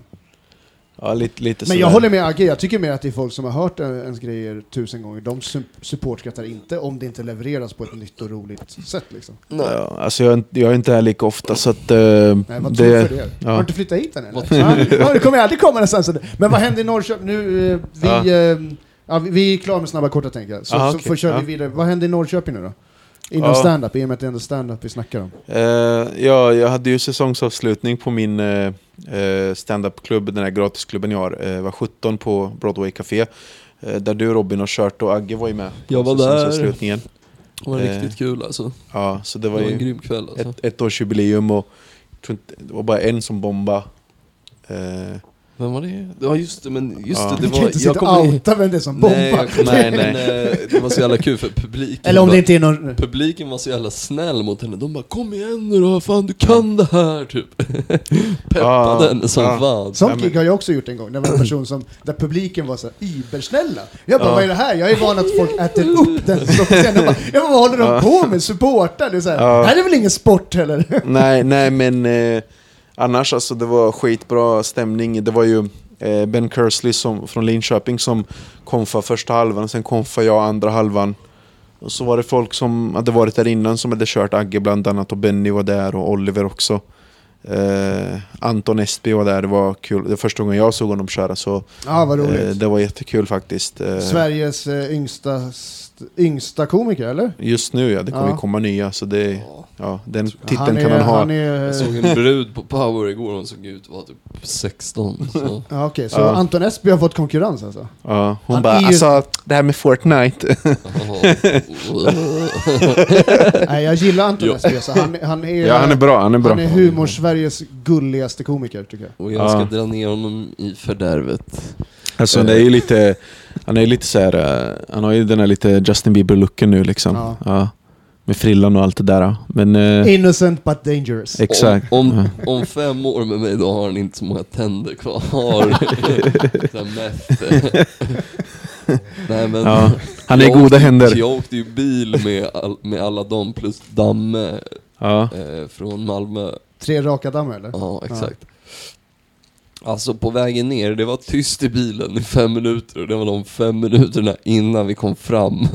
Speaker 4: lite, lite
Speaker 5: Men
Speaker 4: sådär.
Speaker 5: jag håller med Agge, jag tycker mer att det är folk som har hört en- ens grejer tusen gånger, de su- supportskrattar inte om det inte levereras på ett nytt och roligt sätt liksom.
Speaker 4: Ja, alltså jag, är inte- jag är inte här lika ofta så att... eh,
Speaker 5: Nej, vad
Speaker 4: det-
Speaker 5: det, för det.
Speaker 4: ja.
Speaker 5: Har du inte flyttat hit än eller? Va? Ja, det kommer jag aldrig komma någonstans. Men vad hände i Norrköping? Nu, eh, vi,
Speaker 4: Ja.
Speaker 5: eh, ja, vi- vi är klara med snabba korta tänker jag. Så,
Speaker 4: Aha,
Speaker 5: så
Speaker 4: okej.
Speaker 5: får, kör
Speaker 4: Ja.
Speaker 5: vi vidare. Vad hände i Norrköping nu då? Inom
Speaker 4: Ja.
Speaker 5: stand-up, i och med att det är ändå stand-up vi snackar om.
Speaker 4: Eh, ja, jag hade ju säsongsavslutning på min eh, eh, standup-klubb, den här gratisklubben jag har, eh, var 17 på Broadway Café. Eh, där du Robin har kört och Agge var ju med. på
Speaker 2: Jag var där.
Speaker 4: säsongsavslutningen.
Speaker 2: Det var
Speaker 4: Eh,
Speaker 2: riktigt kul alltså.
Speaker 4: Ja, så det
Speaker 2: Det var
Speaker 4: var
Speaker 2: en
Speaker 4: ju
Speaker 2: grym kväll alltså.
Speaker 4: ett, ett årsjubileum och jag tror inte, det var bara en som bombade. Eh,
Speaker 2: Vem var det? Ja just det, men just
Speaker 4: Ja.
Speaker 2: det,
Speaker 5: Du
Speaker 2: det
Speaker 5: kan
Speaker 2: var...
Speaker 5: inte sitta och
Speaker 2: kommer ihåg-
Speaker 5: outa vem det är som bombar.
Speaker 2: Nej, jag kommer
Speaker 4: Nej,
Speaker 2: ihåg,
Speaker 4: nej.
Speaker 2: men, eh, det var så jävla kul för publiken
Speaker 5: Eller om
Speaker 2: bara,
Speaker 5: det inte är någon...
Speaker 2: Publiken var så jävla snäll mot henne, de bara 'Kom igen nu då, fan du kan det här' typ Peppade
Speaker 4: Ah,
Speaker 2: henne som
Speaker 4: ah.
Speaker 2: fan
Speaker 4: Ja,
Speaker 5: Sånt
Speaker 4: men-
Speaker 5: gig har jag också gjort en gång, det var en person som, där publiken var så här ybersnälla. Jag bara, vad är det här? Jag är van att folk äter upp den som står på scenen. Jag bara, jag bara vad håller de på med? Supportar? Det är så här,
Speaker 4: Ja.
Speaker 5: det här är väl ingen sport heller?
Speaker 4: nej, nej men eh, annars alltså det var skitbra stämning. Det var ju eh, Ben Kersley som, från Linköping som kom för första halvan, sen kom för jag andra halvan. Och så var det folk som hade varit där innan som hade kört Agge bland annat och Benny var där och Oliver också. Eh, Anton Esby var där, det var kul. Det var första gången jag såg honom köra så
Speaker 5: Ja, vad
Speaker 4: eh,
Speaker 5: roligt.
Speaker 4: det var jättekul faktiskt. Eh,
Speaker 5: Sveriges eh, yngsta, st- yngsta komiker, eller?
Speaker 4: Just nu ja, det kommer
Speaker 5: Ja.
Speaker 4: ju komma nya så det,
Speaker 2: Ja.
Speaker 4: ja, den titeln kan han ha.
Speaker 5: Han är,
Speaker 2: Jag såg en brud på Power igår, hon såg ut att vara typ 16 så.
Speaker 5: ja, okej, så
Speaker 4: Ja.
Speaker 5: Anton Esby har fått konkurrens alltså?
Speaker 4: Ja, hon
Speaker 5: Han
Speaker 4: bara
Speaker 5: är ju-
Speaker 4: alltså det här med Fortnite.
Speaker 5: Nej, jag gillar Anton
Speaker 2: Ja.
Speaker 5: Esby, alltså. han, han är...
Speaker 4: ja han är bra, han är bra.
Speaker 5: Han är humor-Sveriges gulligaste komiker, tycker jag.
Speaker 2: Och jag ska
Speaker 4: Ja.
Speaker 2: dra ner honom i fördärvet
Speaker 4: Alltså det är ju lite, han är ju lite så här, eh, han har ju den här lite Justin Bieber-looken nu liksom.
Speaker 5: Ja.
Speaker 4: Ja. Med frillan och allt det där. Men eh,
Speaker 5: Innocent but dangerous.
Speaker 4: exakt. Ah.
Speaker 2: Om, om, om fem år med mig, då har han inte så många tänder kvar. Sån meth. Nej men...
Speaker 4: Ja. Han är i
Speaker 2: jag
Speaker 4: goda
Speaker 2: åkte,
Speaker 4: händer.
Speaker 2: Jag åkte ju bil med, all, med alla dem plus Damme
Speaker 4: Ja.
Speaker 2: eh, från Malmö.
Speaker 5: Tre raka dammar, eller?
Speaker 2: Ja, exakt. Alltså på vägen ner, det var tyst i bilen i fem minuter och det var de fem minuterna innan vi kom fram.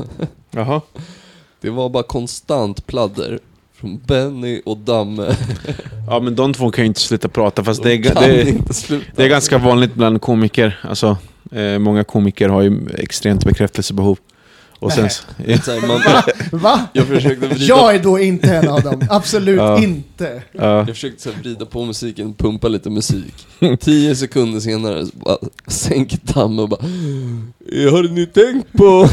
Speaker 4: Jaha.
Speaker 2: Det var bara konstant pladder Från Benny och Damme.
Speaker 4: Ja men de två kan ju inte sluta prata fast Alltså, det
Speaker 2: De
Speaker 4: är,
Speaker 2: kan
Speaker 4: det,
Speaker 2: inte sluta.
Speaker 4: det är ganska vanligt bland komiker. Alltså, eh, många komiker har ju extremt bekräftelsebehov. Och sen, så-
Speaker 2: Så här, man,
Speaker 5: Va?
Speaker 2: jag försökte vrida,
Speaker 5: Jag är då inte en av dem. Absolut
Speaker 4: Ja.
Speaker 5: inte.
Speaker 4: ja,
Speaker 2: jag försökte så här, vrida på musiken, pumpa lite musik. Tio sekunder senare så bara, sänk Damme och bara "Eh, Har ni tänkt på...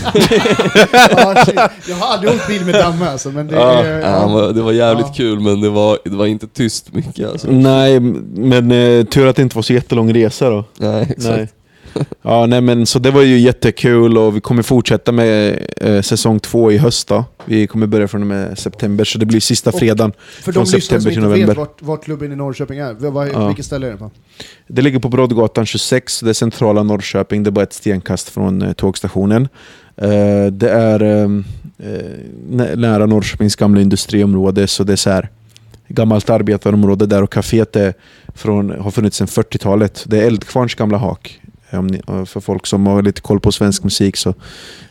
Speaker 5: Ja, shit. jag har aldrig åkt bil med Damme alltså, men det är...
Speaker 2: Ja, han var, det var jävligt
Speaker 5: Ja.
Speaker 2: kul men det var, det var inte tyst mycket alltså.
Speaker 4: nej, men eh, tur att det inte var så jättelång resa då.
Speaker 2: Nej, exakt.
Speaker 4: Nej. Ja, nej men så det var ju jättekul och vi kommer fortsätta med eh, säsong två i höst då. Vi kommer börja från och med september, så det blir sista
Speaker 5: Och-
Speaker 4: fredagen.
Speaker 5: För de
Speaker 4: Från
Speaker 5: lyssnare som
Speaker 4: september till
Speaker 5: inte vet
Speaker 4: november.
Speaker 5: vart, vart klubben i Norrköping är, vad- vad-
Speaker 4: Ja.
Speaker 5: vilket ställe är det på?
Speaker 4: Det ligger på Brodgatan 26, det är centrala Norrköping. Det är bara ett stenkast från eh, tågstationen. Eh, det är eh, eh, nä- nära Norrköpings gamla industriområde, så det är så här gammalt arbetarområde där och kaféet är från, har funnits sedan 40-talet. Det är Eldkvarns gamla hak. eh, Om ni, för folk som har lite koll på svensk musik så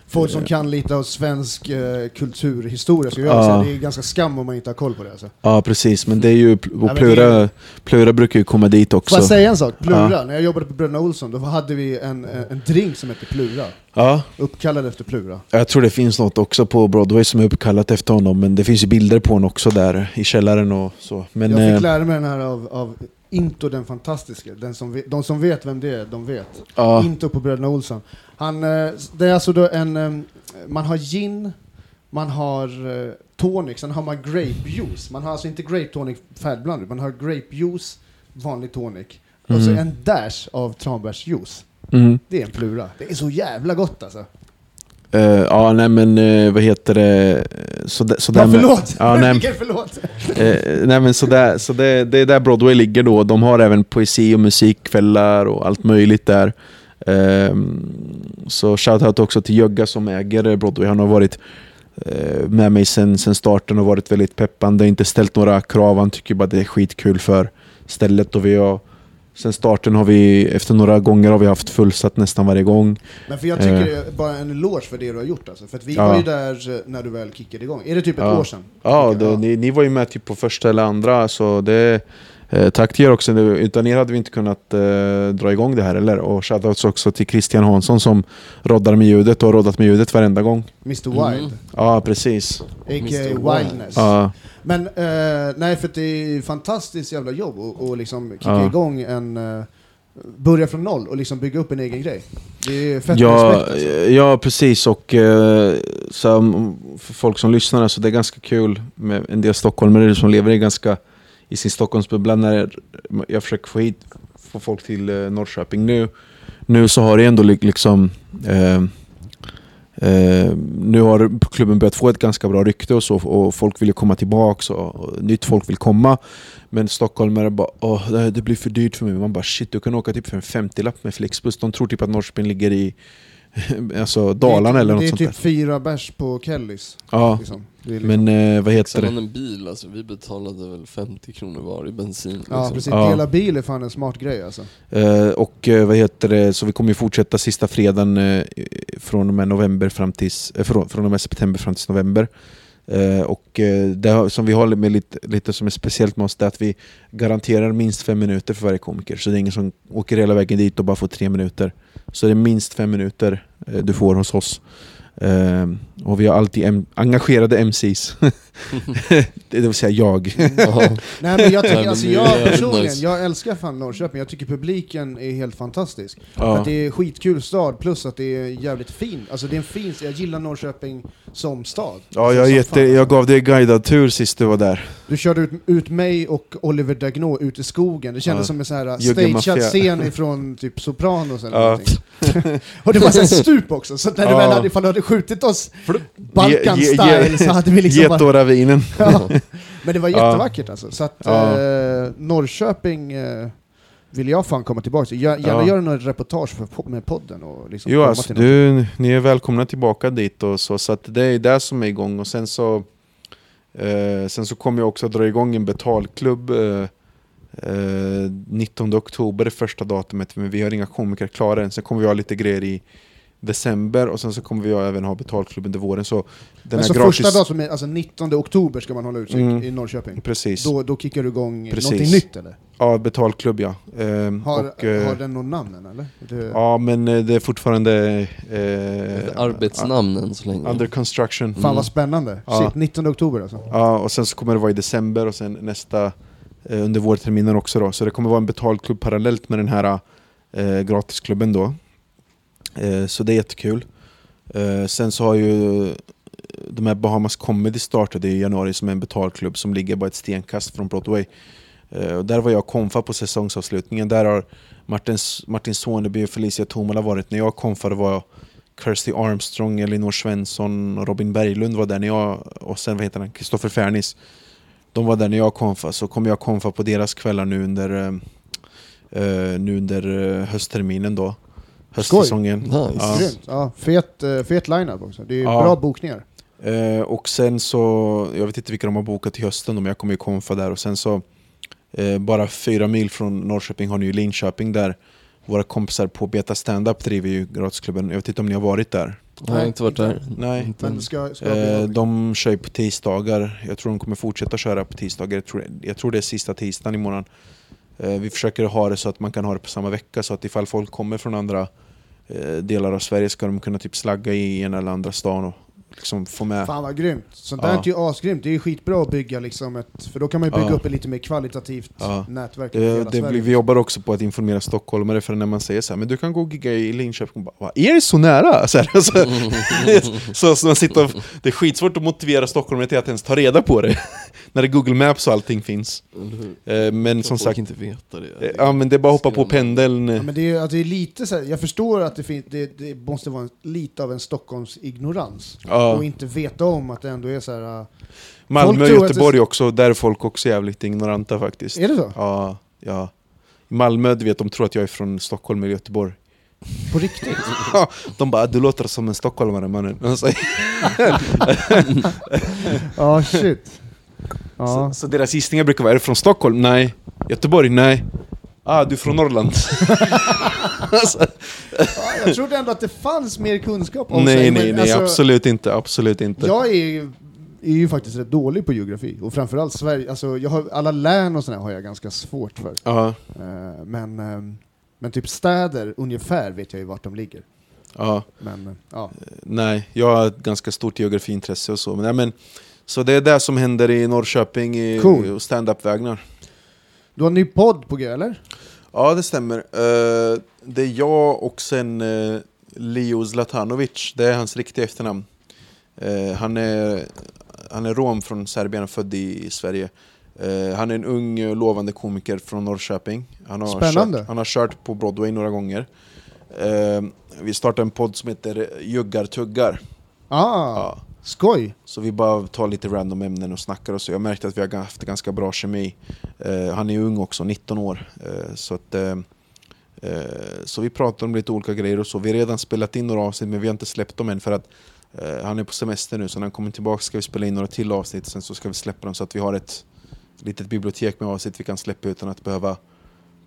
Speaker 5: Folk
Speaker 4: Eh.
Speaker 5: som kan lite av svensk eh, kulturhistoria skulle jag
Speaker 4: Ja.
Speaker 5: säga. Det är ganska skam om man inte har koll på det alltså.
Speaker 4: Ja, precis. Men det är ju... pl-
Speaker 5: men
Speaker 4: Och Plura, Plura brukar ju komma dit
Speaker 5: Får jag
Speaker 4: också.
Speaker 5: säga en sak? Plura,
Speaker 4: Ja.
Speaker 5: när jag jobbade på Bröderna Olsson, då hade vi en, en en drink som hette Plura.
Speaker 4: Ja,
Speaker 5: Uppkallad efter Plura.
Speaker 4: jag tror det finns något också på Broadway som är uppkallat efter honom. Men det finns ju bilder på honom också där i källaren och så. Men,
Speaker 5: jag
Speaker 4: eh,
Speaker 5: fick lära mig den här av, av Into den fantastiske. Den som ve- de som vet vem det är, de vet.
Speaker 4: ja,
Speaker 5: Into på Bröderna Olsson. Han, eh, det är alltså då en... eh, Man har gin, man har eh, tonic, sen har man grape juice. Man har alltså inte grape tonic färdigblandad, man har grape juice, vanlig tonic. Och så
Speaker 4: Mm.
Speaker 5: en dash av tranbärsjuice.
Speaker 4: mm.
Speaker 5: Det är en plura. Det är så jävla gott alltså.
Speaker 4: Eh, ja, nej men eh, vad heter det? Så, där- så där
Speaker 5: Ja,
Speaker 4: med-
Speaker 5: förlåt!
Speaker 4: Ja, nej,
Speaker 5: Vilken förlåt!
Speaker 4: eh, nej men så, där, så det, det är där Broadway ligger då. De har även poesi och musikkvällar och allt möjligt där. Ehm, så shoutout också till Jögga som äger Broadway. Han har varit eh, med mig sen, sen starten och varit väldigt peppande. Inte ställt några krav. Han tycker bara det är skitkul för stället. Och vi har, sen starten har vi, efter några gånger har vi haft fullsatt nästan varje gång.
Speaker 5: Men för jag tycker det är bara en eloge för det du har gjort alltså. För att vi
Speaker 4: Eh. Ja.
Speaker 5: var ju där eh, när du väl kickade igång. Är det typ ett
Speaker 4: Ja.
Speaker 5: år sedan?
Speaker 4: Ja,
Speaker 5: Tycker
Speaker 4: då,
Speaker 5: jag.
Speaker 4: ni, ni var ju med typ på första eller andra, så det... Eh, tack till er också, nu. utan er hade vi inte kunnat eh, dra igång det här eller? Och shoutouts också till Christian Hansson som roddar med ljudet och har roddat med ljudet varenda gång.
Speaker 5: Mr
Speaker 2: Mm.
Speaker 5: Wild,
Speaker 4: Ja, precis.
Speaker 5: a.k.a.
Speaker 2: Mr. Wild.
Speaker 5: Wildness.
Speaker 4: Ja,
Speaker 5: Men eh, nej, för att det är ett fantastiskt jävla jobb och, och liksom kicka
Speaker 4: Ja.
Speaker 5: igång en... Eh, börja från noll och liksom bygga upp en egen grej. Det är fett
Speaker 4: ja, eh,
Speaker 5: respekt alltså.
Speaker 4: ja precis. Och eh, så, um, för folk som lyssnar, så det är ganska kul med en del stockholmare som lever i ganska i sin Stockholmsbubbla. När jag försöker få hit få folk till eh, Norrköping nu, nu så har det ändå li- liksom... Eh, Eh, nu har klubben börjat få ett ganska bra rykte och så och folk vill ju komma tillbaka och, och nytt folk vill komma. Men stockholmare bara Åh, det- det blir för dyrt för mig. Man bara shit, du kan åka typ för en 50-lapp med Flixbus. De tror typ att Norrköping ligger i alltså Dalarna
Speaker 5: det är,
Speaker 4: eller något
Speaker 5: Det är
Speaker 4: sånt
Speaker 5: typ fyra bärs på Kellys.
Speaker 4: där. Ja,
Speaker 5: Liksom. Det är liksom
Speaker 4: men eh, vad heter
Speaker 2: Sen
Speaker 4: det?
Speaker 2: en bil alltså, vi betalade väl 50 kronor var i bensin liksom.
Speaker 5: Ja precis,
Speaker 4: Ja.
Speaker 5: dela bil är fan en smart grej alltså.
Speaker 4: Eh, och eh, vad heter det? Så vi kommer ju fortsätta sista fredagen eh, från och med november fram tills, eh, från, från och med september fram till november. Eh, och eh, det har- som vi har med lite, lite som är speciellt med oss det är att vi garanterar minst fem minuter för varje komiker. Så det är ingen som åker hela vägen dit och bara får tre minuter. Så det är minst fem minuter eh, du får hos oss. Eh, och vi har alltid em- engagerade MCs. det vill säga jag.
Speaker 2: Ja.
Speaker 5: Nej men jag
Speaker 2: Nej,
Speaker 5: tycker,
Speaker 2: men
Speaker 5: alltså
Speaker 2: det är
Speaker 5: jag
Speaker 2: jävligt
Speaker 5: personligen,
Speaker 2: nice.
Speaker 5: jag älskar fan Norrköping. Jag tycker publiken är helt fantastisk. För
Speaker 4: Ja.
Speaker 5: att det är skitkul stad, plus att det är jävligt fin. Alltså det är en fin, jag gillar Norrköping som stad. Alltså,
Speaker 4: Ja, jag, är
Speaker 5: Som
Speaker 4: jätte,
Speaker 5: fan.
Speaker 4: jag gav dig guidad tur sist du var där.
Speaker 5: Du körde ut, ut mig och Oliver Dagnå ut i skogen. Det kändes
Speaker 4: Ja.
Speaker 5: som en sån här
Speaker 4: Jugge
Speaker 5: stagead
Speaker 4: Mafia.
Speaker 5: scen ifrån typ Sopranos eller
Speaker 4: Ja.
Speaker 5: någonting. och det var en stup också, så när du
Speaker 4: Ja.
Speaker 5: väl hade, ifall du hade skjutit oss
Speaker 4: Ge- ge-
Speaker 5: Balkan-style
Speaker 4: ge-
Speaker 5: så hade vi liksom bara...
Speaker 4: Getorravinen.
Speaker 5: Ja. Men det var
Speaker 4: Ja.
Speaker 5: jättevackert alltså. Så att
Speaker 4: Ja.
Speaker 5: eh, Norrköping eh, vill jag fan komma tillbaka till. Jag, gärna
Speaker 4: Ja.
Speaker 5: göra något reportage för, po- med podden och liksom
Speaker 4: Jo,
Speaker 5: komma
Speaker 4: alltså,
Speaker 5: till något.
Speaker 4: du, ni är välkomna tillbaka dit och så, så att det är det som är igång och sen så eh, Sen så kommer jag också dra igång en betalklubb eh, eh, 19 oktober är första datumet, men vi har inga komiker klara än. Sen kommer vi ha lite grejer i december och sen så kommer vi även ha betalklubb under våren. Så den
Speaker 5: Men
Speaker 4: här
Speaker 5: så
Speaker 4: gratis...
Speaker 5: första dagen, som är, alltså 19 oktober ska man hålla utkik
Speaker 4: Mm.
Speaker 5: i Norrköping.
Speaker 4: Precis.
Speaker 5: Då, då kickar du igång
Speaker 4: Precis.
Speaker 5: någonting nytt eller?
Speaker 4: Ja, betalklubb ja. Ehm,
Speaker 5: Har,
Speaker 4: och, eh,
Speaker 5: har den någon namn än, eller? Det,
Speaker 4: Ja, men eh, det är fortfarande... Eh,
Speaker 2: Arbetsnamn än så länge.
Speaker 4: Under construction.
Speaker 5: Mm. Fan vad spännande.
Speaker 4: Mm. Ja.
Speaker 5: Shit, 19 oktober alltså.
Speaker 4: Ja, och sen så kommer det vara i december och sen nästa eh, under vårterminen också då. Så det kommer vara en betald klubb parallellt med den här eh, gratisklubben då. Eh, så det är jättekul. Eh, sen så har ju eh, de här Bahamas Comedy startade i januari som är en betalklubb som ligger bara ett stenkast från Broadway. Eh, och där var jag konfa på säsongsavslutningen. Där har Martin, Martin Soneby och Felicia Tomala varit. När jag konfade var Kirsty Armstrong, Elinor Svensson och Robin Berglund var där när jag, och sen vad heter han, Kristoffer Fernis. De var där när jag konfa, så kommer jag konfa på deras kvällar nu under, eh, eh, nu under eh, höstterminen då. Höstsäsongen.
Speaker 2: Nice.
Speaker 4: Ja.
Speaker 5: Grymt. Ja, fet, eh, fet line-up också. Det är ju
Speaker 4: Ja.
Speaker 5: bra bokningar.
Speaker 4: Eh, och sen så, jag vet inte vilka de har bokat till hösten då, men jag kommer ju konfa där. Och sen så, eh, bara fyra mil från Norrköping har ni ju Linköping där våra kompisar på Beta Standup driver ju gratisklubben. Jag vet inte om ni har varit där?
Speaker 2: Jag har inte varit där.
Speaker 4: Nej.
Speaker 2: Inte än.
Speaker 5: Men ska, ska
Speaker 4: Eh,
Speaker 5: jag bli
Speaker 4: de kör ju på tisdagar. Jag tror de kommer fortsätta köra på tisdagar. Jag tror, jag tror det är sista tisdagen i månaden. Eh, vi försöker ha det så att man kan ha det på samma vecka. Så att ifall folk kommer från andra eh, delar av Sverige ska de kunna typ slagga i ena eller andra stan och liksom få med.
Speaker 5: Fan vad grymt. Sånt
Speaker 4: Ja.
Speaker 5: där är ju asgrymt. Det är ju skitbra att bygga liksom ett, för då kan man ju bygga
Speaker 4: Ja.
Speaker 5: upp ett lite mer kvalitativt
Speaker 4: Ja.
Speaker 5: nätverk över
Speaker 4: Eh, Det, det
Speaker 5: hela Sverige.
Speaker 4: blir, vi jobbar också på att informera stockholmare för när man säger så här, men du kan gå och gigga i Linköping, bara, "Va, är det så nära? Så, här, så, så, så man sitter och, det är skitsvårt att motivera stockholmare till att ens ta reda på det, när det är Google Maps och allting finns.
Speaker 5: Mm-hmm.
Speaker 4: Eh, Men som
Speaker 2: Folk
Speaker 4: sagt,
Speaker 2: inte veta
Speaker 4: eh,
Speaker 2: det.
Speaker 4: ja, men det är bara att hoppa på
Speaker 2: skrämmande.
Speaker 4: pendeln.
Speaker 5: Ja, men det är, ju- alltså, det är lite så här, jag förstår att det, finns, det, det måste vara en, lite av en Stockholms ignorans
Speaker 4: Ja.
Speaker 5: och inte veta om att det ändå är så här. äh,
Speaker 4: Malmö
Speaker 5: folk
Speaker 4: och
Speaker 5: tror att det-
Speaker 4: Göteborg också, där är folk också jävligt ignoranta faktiskt.
Speaker 5: Är det så?
Speaker 4: Ja, ja. I Malmö, du vet, de tror att jag är från Stockholm eller Göteborg.
Speaker 5: På riktigt?
Speaker 4: De bara, du låter som en stockholmare mannen. Och så-
Speaker 5: Ja, shit. Ja.
Speaker 4: Så, så deras gissningar brukar vara, är du från Stockholm? Nej. Göteborg? Nej. Ah, du är från Norrland? alltså,
Speaker 5: Ja, jag trodde ändå att det fanns mer kunskap om sig.
Speaker 4: nej,
Speaker 5: men
Speaker 4: nej, nej,
Speaker 5: alltså,
Speaker 4: absolut inte, absolut inte.
Speaker 5: Jag är ju, är ju faktiskt rätt dålig på geografi, och framförallt Sverige. Alltså, jag har, alla län och sådär har jag ganska svårt för.
Speaker 4: Ja,
Speaker 5: Eh, men, ehm, men typ städer, ungefär vet jag ju vart de ligger.
Speaker 4: ja,
Speaker 5: Men, eh, ja.
Speaker 4: nej, jag har ett ganska stort geografiintresse och så. Men, ja, men, så det är det som händer i Norrköping i,
Speaker 5: Cool.
Speaker 4: och standup-vägnar.
Speaker 5: Du har en ny podd på g, eller?
Speaker 4: Ja, det stämmer. Eh, det är jag och sen eh, Leo Zlatanovic, det är hans riktiga efternamn. Eh, han, är, han är rom från Serbien, född i Sverige. Eh, han är en ung eh, lovande komiker från Norrköping. Han har
Speaker 5: Spännande.
Speaker 4: Kört, han har kört på Broadway några gånger. Eh, vi startade en podd som heter Juggar-tuggar.
Speaker 5: Ah,
Speaker 4: Ja.
Speaker 5: skoj!
Speaker 4: Så vi bara tar lite random ämnen och snackar och så. Jag märkte att vi har g- haft ganska bra kemi. Eh, han är ung också, 19 år. Eh, så, att, eh, eh, så vi pratar om lite olika grejer och så. Vi har redan spelat in några avsnitt men vi har inte släppt dem än för att eh, han är på semester nu. Så när han kommer tillbaka ska vi spela in några till avsnitt sen så ska vi släppa dem så att vi har ett litet bibliotek med avsnitt vi kan släppa utan att behöva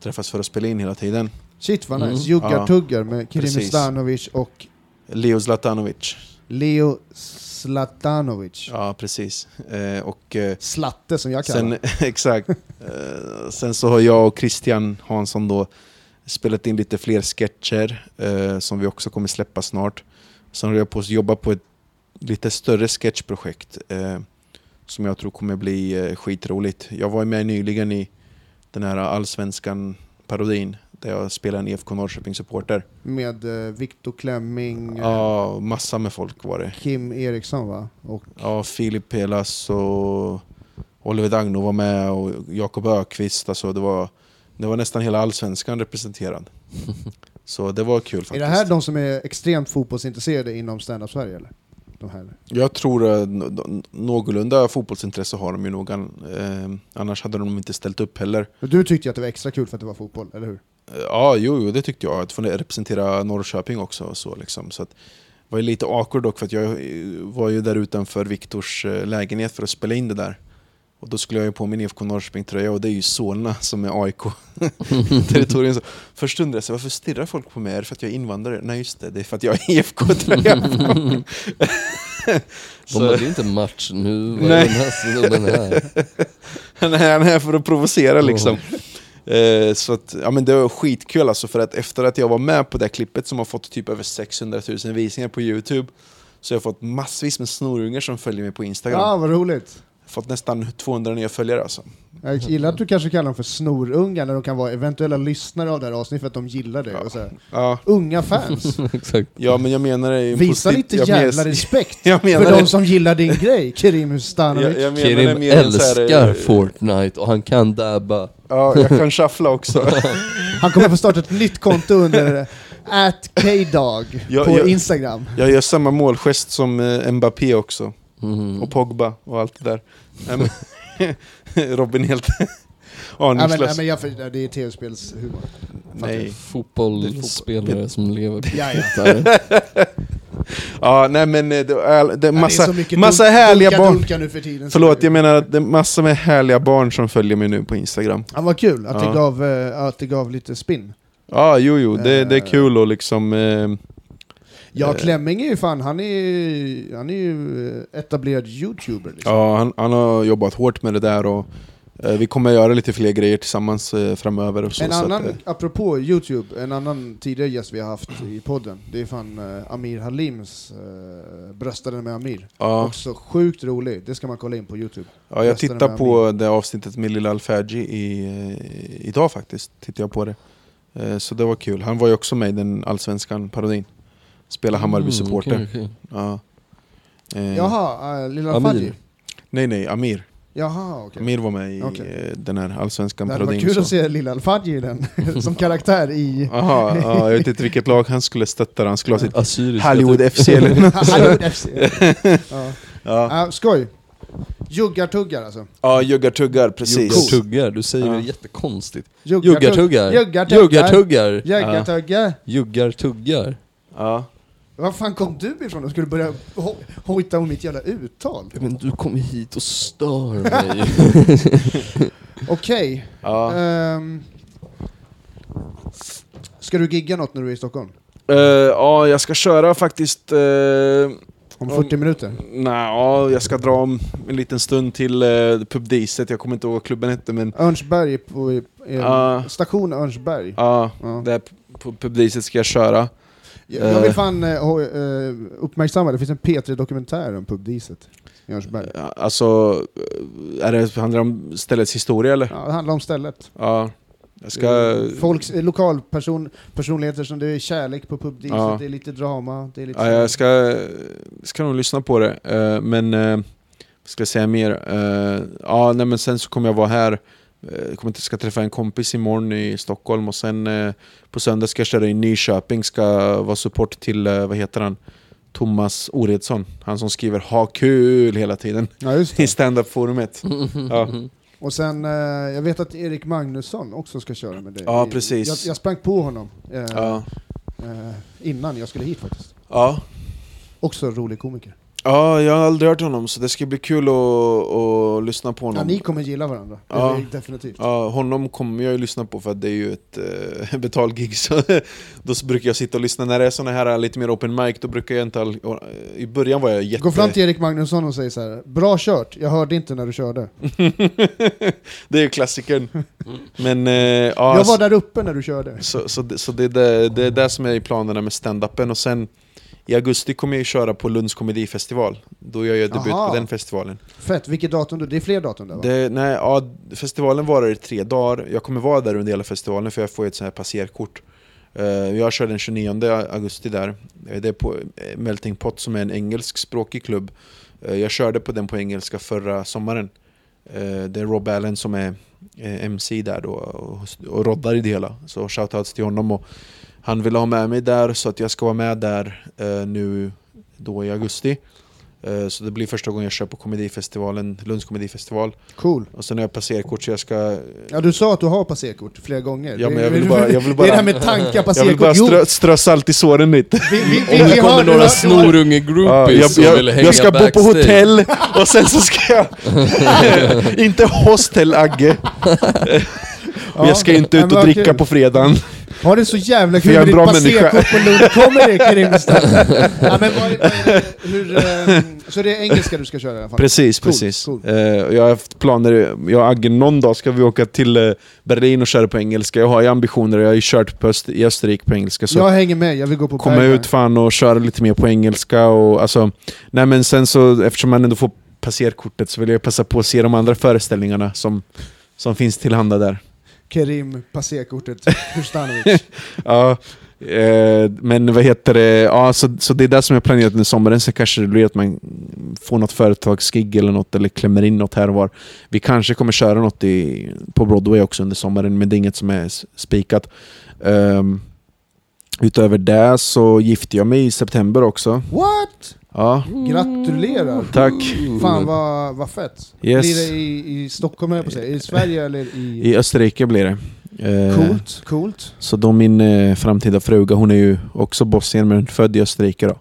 Speaker 4: träffas för att spela in hela tiden.
Speaker 5: Shit vad nice.
Speaker 2: Mm.
Speaker 5: Juggar
Speaker 4: Ja.
Speaker 5: tuggar med Kirim
Speaker 4: Precis.
Speaker 5: Stanovic och
Speaker 4: Leo Zlatanovic.
Speaker 5: Leo Slatanovic.
Speaker 4: Ja, precis. Eh, och... Eh,
Speaker 5: Slatte som jag kallar
Speaker 4: Sen, exakt. Eh, sen så har jag och Christian Hansson då spelat in lite fler sketcher eh, som vi också kommer släppa snart. Sen håller jag på att jobba på ett lite större sketchprojekt eh, som jag tror kommer bli eh, skitroligt. Jag var ju med nyligen i den här Allsvenskan-parodin där jag spelar en IFK Norrköping-supporter.
Speaker 5: Med eh, Viktor Klemming, eh,
Speaker 4: Ja, massa med folk var det.
Speaker 5: Kim Eriksson va? Och
Speaker 4: Ja, Filip Pelas och Oliver Dagno var med och Jakob Ökvist. Alltså det, var, det var nästan hela allsvenskan representerad. Så det var kul faktiskt.
Speaker 5: är det här de som är extremt fotbollsintresserade inom stand-up Sverige eller? De här.
Speaker 4: Jag tror eh, nå- nå- någorlunda fotbollsintresse har de ju nog. Eh, annars hade de inte ställt upp heller.
Speaker 5: Och Du tyckte ju att det var extra kul för att det var fotboll, eller hur?
Speaker 4: Eh, Ja, jo, jo, det tyckte jag. Att få representera Norrköping också. Och så, liksom. så att, det var ju lite awkward dock, för att jag eh, var ju där utanför Viktors eh, lägenhet för att spela in det där. Och då skulle jag ju på min IFK Norrköping-tröja och det är ju Solna som är AIK. territorium. Så Först undrade jag sig, varför stirrar folk på mig? Är det för att jag är invandrare? Nej just det, det är för att jag har IFK-tröja på mig.
Speaker 2: De
Speaker 4: Så-
Speaker 2: bara, det är inte match nu, vad är
Speaker 4: alltså- Nej.
Speaker 2: den här snubben här?
Speaker 4: Han är han är här för att provocera
Speaker 5: Mm.
Speaker 4: liksom. Eh, Så att, ja, men det var skitkul alltså, för att efter att jag var med på det här klippet som har fått typ över 600 000 visningar på YouTube, så jag har fått massvis med snorungar som följer mig på Instagram.
Speaker 5: Ja, vad roligt.
Speaker 4: Fått nästan 200 nya följare alltså.
Speaker 5: Jag gillar att du kanske kallar dem för snorungar när de kan vara eventuella lyssnare av det här avsnittet för att de gillar det. Och så här.
Speaker 4: Ja,
Speaker 5: Unga fans,
Speaker 2: Exakt.
Speaker 4: ja men jag menar det ju...
Speaker 5: visa
Speaker 4: positivt-
Speaker 5: lite
Speaker 4: jag
Speaker 5: jävla
Speaker 4: menar-
Speaker 5: respekt
Speaker 4: Jag menar
Speaker 5: för de
Speaker 4: det.
Speaker 5: som gillar din grej, Kerim Hustanovic.
Speaker 4: Jag, jag menar det
Speaker 2: Kerim
Speaker 4: mer än så här, eh,
Speaker 2: älskar Fortnite och han kan dabba.
Speaker 4: Ja, jag kan shuffla också.
Speaker 5: Han kommer få starta ett nytt konto under at kdog
Speaker 4: Ja,
Speaker 5: på
Speaker 4: ja.
Speaker 5: Instagram.
Speaker 4: Jag gör samma målgest som eh, Mbappé också. Och Pogba och allt det där. Nej, men- Robin är helt
Speaker 5: Ja, men, ja,
Speaker 4: aningslös.
Speaker 5: men jag, det är tv-spelshumor.
Speaker 4: Nej.
Speaker 2: Fotbollsspelare som lever på
Speaker 5: Ja, ja.
Speaker 2: Twitter.
Speaker 4: Ja, nej men eh, det, är- det är
Speaker 5: Ja, det är
Speaker 4: massa,
Speaker 5: så mycket
Speaker 4: massa
Speaker 5: dunk-
Speaker 4: härliga
Speaker 5: dunka,
Speaker 4: barn.
Speaker 5: dunka nu för tiden.
Speaker 4: Förlåt, jag menar att det är massor med härliga barn som följer mig nu på Instagram.
Speaker 5: Ja, vad kul att,
Speaker 4: Ja.
Speaker 5: det gav, eh, att det gav lite spinn.
Speaker 4: Ja, jo, jo, det, det är
Speaker 5: Eh.
Speaker 4: kul och liksom... Eh,
Speaker 5: Ja,
Speaker 4: Eh.
Speaker 5: Klemming är ju fan, han är ju, han är ju eh, etablerad youtuber. Liksom.
Speaker 4: ja, han, han har jobbat hårt med det där och eh, vi kommer göra lite fler grejer tillsammans eh, framöver. Och så,
Speaker 5: en
Speaker 4: så att,
Speaker 5: annan,
Speaker 4: eh,
Speaker 5: apropå youtube, en annan tidigare gäst vi har haft i podden, det är fan eh, Amir Halims eh, Bröstade med Amir.
Speaker 4: ja, Mm.
Speaker 5: Också sjukt rolig, det ska man kolla in på youtube.
Speaker 4: ja, jag
Speaker 5: Resten
Speaker 4: tittar
Speaker 5: med
Speaker 4: på det avsnittet med Lilla Alfagi i, eh, idag faktiskt. Tittar jag på det. Eh, så det var kul. Han var ju också med i den allsvenskan parodin. Spela Hammarby-supporter.
Speaker 2: Mm, okej, okej.
Speaker 4: Ja. Eh,
Speaker 5: Jaha, eh, Lilla
Speaker 2: Amir.
Speaker 5: Fadji?
Speaker 4: Nej, nej, Amir.
Speaker 5: Jaha, okej.
Speaker 4: Amir var med i
Speaker 5: Okej.
Speaker 4: eh, den här allsvenskan
Speaker 5: Det hade varit
Speaker 4: parodin.
Speaker 5: kul
Speaker 4: så.
Speaker 5: att se Lilla Alfadji i den, som karaktär i...
Speaker 4: Aha, ja, jag vet inte vilket lag han skulle stötta. Han skulle ha sitt
Speaker 2: Assyriska
Speaker 4: Hollywood FC eller något.
Speaker 5: Hallå FC! ja.
Speaker 4: Ja,
Speaker 5: Ja, skoj! Juggartuggar alltså.
Speaker 4: ja juggar-tuggar, precis.
Speaker 2: Juggartuggar, du säger
Speaker 4: Ja.
Speaker 2: det jättekonstigt.
Speaker 5: Juggartuggar.
Speaker 2: Juggartuggar.
Speaker 5: Juggartuggar.
Speaker 2: Juggartuggar.
Speaker 5: Juggartuggar.
Speaker 2: Juggartuggar.
Speaker 4: Ja.
Speaker 5: Var fan kom du ifrån och skulle börja ho- hojta om mitt jävla uttal?
Speaker 2: Ja, Men du kommer hit och stör mig.
Speaker 5: Okej.
Speaker 4: Ja.
Speaker 5: ehm. ska du gigga något när du är i Stockholm?
Speaker 4: Eh, ja, jag ska köra faktiskt... Uh,
Speaker 5: Om
Speaker 4: Om-
Speaker 5: 40 minuter?
Speaker 4: nej, ja, jag ska dra om en liten stund till uh, Pubdiset. Jag kommer inte ihåg vad klubben hette, men...
Speaker 5: Örnsberg, är på, är, är,
Speaker 4: Ja.
Speaker 5: station Örnsberg.
Speaker 4: Ja,
Speaker 5: Ja.
Speaker 4: där på Pubdiset ska jag köra.
Speaker 5: Jag jag vill
Speaker 4: Eh.
Speaker 5: fan eh, ho- eh, uppmärksamma, det finns en P3-dokumentär om pubdiset i Örnsberg.
Speaker 4: Ja, Alltså, är det, handlar det om ställets historia eller?
Speaker 5: Ja, det handlar om stället.
Speaker 4: Ja. Jag ska...
Speaker 5: Eh, Folks, eh, lokalperson, personligheter som det är kärlek på pubdiset,
Speaker 4: Ja.
Speaker 5: det är lite drama, det är lite...
Speaker 4: Ja, jag ska, ska nog lyssna på det, eh, men eh, vad ska jag säga mer? Eh, Ja, nej, men sen så kommer jag vara här, eh, kommer inte, ska träffa en kompis imorgon i Stockholm och sen eh, på söndag ska jag köra i Nyköping, ska vara support till, eh, vad heter han? Thomas Oredsson, han som skriver ha kul hela tiden
Speaker 5: Ja, just
Speaker 4: i
Speaker 5: det.
Speaker 4: standup-forumet. Ja.
Speaker 5: Och sen, eh, jag vet att Erik Magnusson också ska köra med dig.
Speaker 4: Ja,
Speaker 5: I-
Speaker 4: precis.
Speaker 5: Jag, jag sprang på honom eh,
Speaker 4: Ja.
Speaker 5: eh, innan jag skulle hit faktiskt.
Speaker 4: Ja.
Speaker 5: Också rolig komiker.
Speaker 4: ja, jag har aldrig hört honom så det ska bli kul att, att lyssna på honom.
Speaker 5: Ja, ni kommer gilla varandra, det
Speaker 4: Ja.
Speaker 5: är definitivt.
Speaker 4: Ja, honom kommer jag ju lyssna på för att det är ju ett eh, betalgig så då så brukar jag sitta och lyssna. När det är såna här eh, lite mer open mic, då brukar jag inte... All... och, eh, I början var jag jätte...
Speaker 5: Gå fram till Erik Magnusson och säg så här. bra kört, jag hörde inte när du körde.
Speaker 4: det är ju klassikern. Men eh, ja,
Speaker 5: Mm. Jag var
Speaker 4: så,
Speaker 5: där uppe när du körde.
Speaker 4: så, så, det- så det, är det, det är det som är i planerna med stand-upen och sen i augusti kommer jag ju köra på Lunds komedifestival. Då gör jag debut
Speaker 5: Aha.
Speaker 4: på den festivalen.
Speaker 5: Fett, vilket datum då? Det är fler datum där va?
Speaker 4: Det, nej, ja, festivalen varar i tre dagar. Jag kommer vara där under hela festivalen för jag får ju ett sånt här passerkort. Eh, jag kör den 29 augusti där. Eh, det är på eh, Melting Pot som är en engelskspråkig klubb. Eh, jag körde på den på engelska förra sommaren. Eh, det är Rob Allen som är eh, MC där då och, och roddar i det hela. Så shoutouts till honom. Och han ville ha med mig där så att jag ska vara med där eh, nu då i augusti. Eh, Eh, Så det blir första gången jag kör på komedifestivalen, Lunds komedifestival.
Speaker 5: Cool.
Speaker 4: Och sen har jag passerkort så jag ska...
Speaker 5: Ja, du sa att du har passerkort flera gånger.
Speaker 4: Ja,
Speaker 5: Det-
Speaker 4: men jag vill bara- jag vill bara-
Speaker 5: det är det här med tankar,
Speaker 4: Jag vill
Speaker 5: passerkort.
Speaker 4: bara
Speaker 5: Jo,
Speaker 4: strö, strö salt i såren lite.
Speaker 5: vi, vi, vi,
Speaker 2: Om
Speaker 5: vi
Speaker 2: det kommer
Speaker 5: har- du har- du
Speaker 2: några
Speaker 5: har-
Speaker 4: Ja,
Speaker 2: snorunge-groupies
Speaker 4: jag,
Speaker 2: som vill
Speaker 4: jag,
Speaker 2: hänga
Speaker 4: jag ska bo på
Speaker 2: backstage.
Speaker 4: hotell och sen så ska jag... inte hostel-Agge. Och jag ska inte
Speaker 5: Ja,
Speaker 4: ut
Speaker 5: men
Speaker 4: och
Speaker 5: vad
Speaker 4: dricka
Speaker 5: kul.
Speaker 4: på fredagen.
Speaker 5: Har det så jävla
Speaker 4: För
Speaker 5: kul
Speaker 4: jag är
Speaker 5: med
Speaker 4: en
Speaker 5: ditt
Speaker 4: bra människa.
Speaker 5: passerkort på Lund Comedy, Karim Staff. ja, men vad är det- hur, ehm, Så det är engelska du ska köra i alla fall?
Speaker 4: Precis,
Speaker 5: Cool,
Speaker 4: precis.
Speaker 5: cool.
Speaker 4: Eh, och jag har haft planer, jag och Agge, någon dag ska vi åka till eh, Berlin och köra på engelska. Jag har ju ambitioner, jag har ju kört på Öst, i Österrike på engelska. Så
Speaker 5: jag hänger med, jag vill gå på
Speaker 4: komma
Speaker 5: Bergman.
Speaker 4: ut fan och köra lite mer på engelska och alltså... Nej men sen så, eftersom man ändå får passerkortet så vill jag passa på att se de andra föreställningarna som, som finns tillhanda där.
Speaker 5: Kerim, passerkortet, Hustanovic.
Speaker 4: Ja, eh, men vad heter det? Ja, så, så det är det som jag planerat under sommaren. Sen kanske det blir att man får något företagsgig eller något, eller klämmer in något här och var. Vi kanske kommer köra något i, på Broadway också under sommaren, men det är inget som är s- spikat. Ehm, utöver det så gifte jag mig i september också.
Speaker 5: What?
Speaker 4: Ja,
Speaker 5: Gratulerar!
Speaker 4: tack.
Speaker 5: Fan vad, vad fett.
Speaker 4: Yes.
Speaker 5: Blir det i, i Stockholm höll jag på att säga. I Sverige eller i...
Speaker 4: I Österrike blir det. Eh,
Speaker 5: Coolt, coolt.
Speaker 4: Så då min eh, framtida fruga, hon är ju också bosnier men född i Österrike. Då.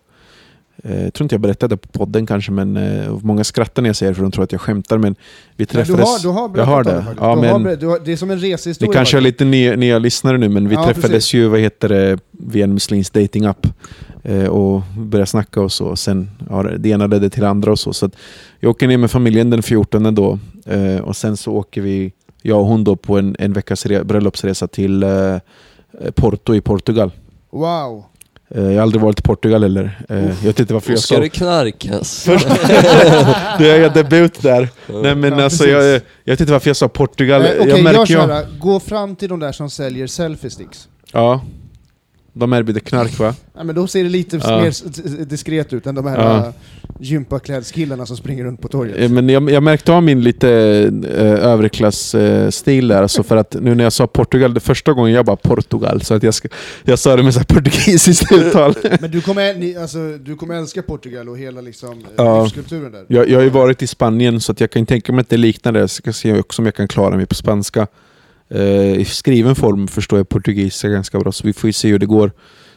Speaker 4: Eh, jag tror inte jag berättade det på podden kanske, men eh, många skrattar när jag säger det för de tror att jag skämtar. Men vi
Speaker 5: Nej, du
Speaker 4: träffades...
Speaker 5: har, du har berättat
Speaker 4: jag har
Speaker 5: om
Speaker 4: det.
Speaker 5: faktiskt.
Speaker 4: Ja,
Speaker 5: du har
Speaker 4: men
Speaker 5: berättat, du har, det är som en
Speaker 4: ni
Speaker 5: resehistoria.
Speaker 4: kanske är
Speaker 5: faktiskt.
Speaker 4: lite nya, nya lyssnare nu, men vi
Speaker 5: Ja,
Speaker 4: träffades
Speaker 5: precis.
Speaker 4: ju vad heter det, via en muslims datingapp eh, och började snacka och så. Sen, ja, det ena ledde till det andra och så. så att jag åker ner med familjen den 14 då eh, och sen så åker vi, jag och hon då, på en, en veckas re- bröllopsresa till eh, Porto i Portugal.
Speaker 5: Wow.
Speaker 4: Eh, Jag har aldrig varit i Portugal heller. Eh, Jag vet inte varför jag
Speaker 2: Ska
Speaker 4: sa...
Speaker 2: det knarkas?
Speaker 4: Du jag gör debut där. Nej men
Speaker 5: Ja,
Speaker 4: alltså
Speaker 5: precis.
Speaker 4: jag, jag vet inte varför jag sa Portugal.
Speaker 5: Eh, Okej,
Speaker 4: jag
Speaker 5: jag,
Speaker 4: märker
Speaker 5: kör.
Speaker 4: jag.
Speaker 5: här. Gå fram till de där som säljer selfie sticks.
Speaker 4: Ja. De erbjuder knark va?
Speaker 5: Ja, men då ser det lite
Speaker 4: Ja.
Speaker 5: mer s- d- diskret ut än de här
Speaker 4: Ja.
Speaker 5: äh, gympaklädskillarna som springer runt på torget.
Speaker 4: Eh, Men jag, jag märkte av min lite eh, överklassstil där. Alltså för att nu när jag sa Portugal, det första gången jag bara Portugal. Så att jag, ska, jag sa det med så här portugisiskt uttal.
Speaker 5: Men du kommer, ni, alltså, du kommer älska Portugal och hela liksom,
Speaker 4: Ja.
Speaker 5: ja. livskulturen där.
Speaker 4: Jag, jag har ju varit i Spanien så att jag kan tänka mig att det liknar det. Jag ska se också om jag kan klara mig på spanska. Eh, I skriven form förstår jag portugisiska ganska bra, så vi får ju se hur det går.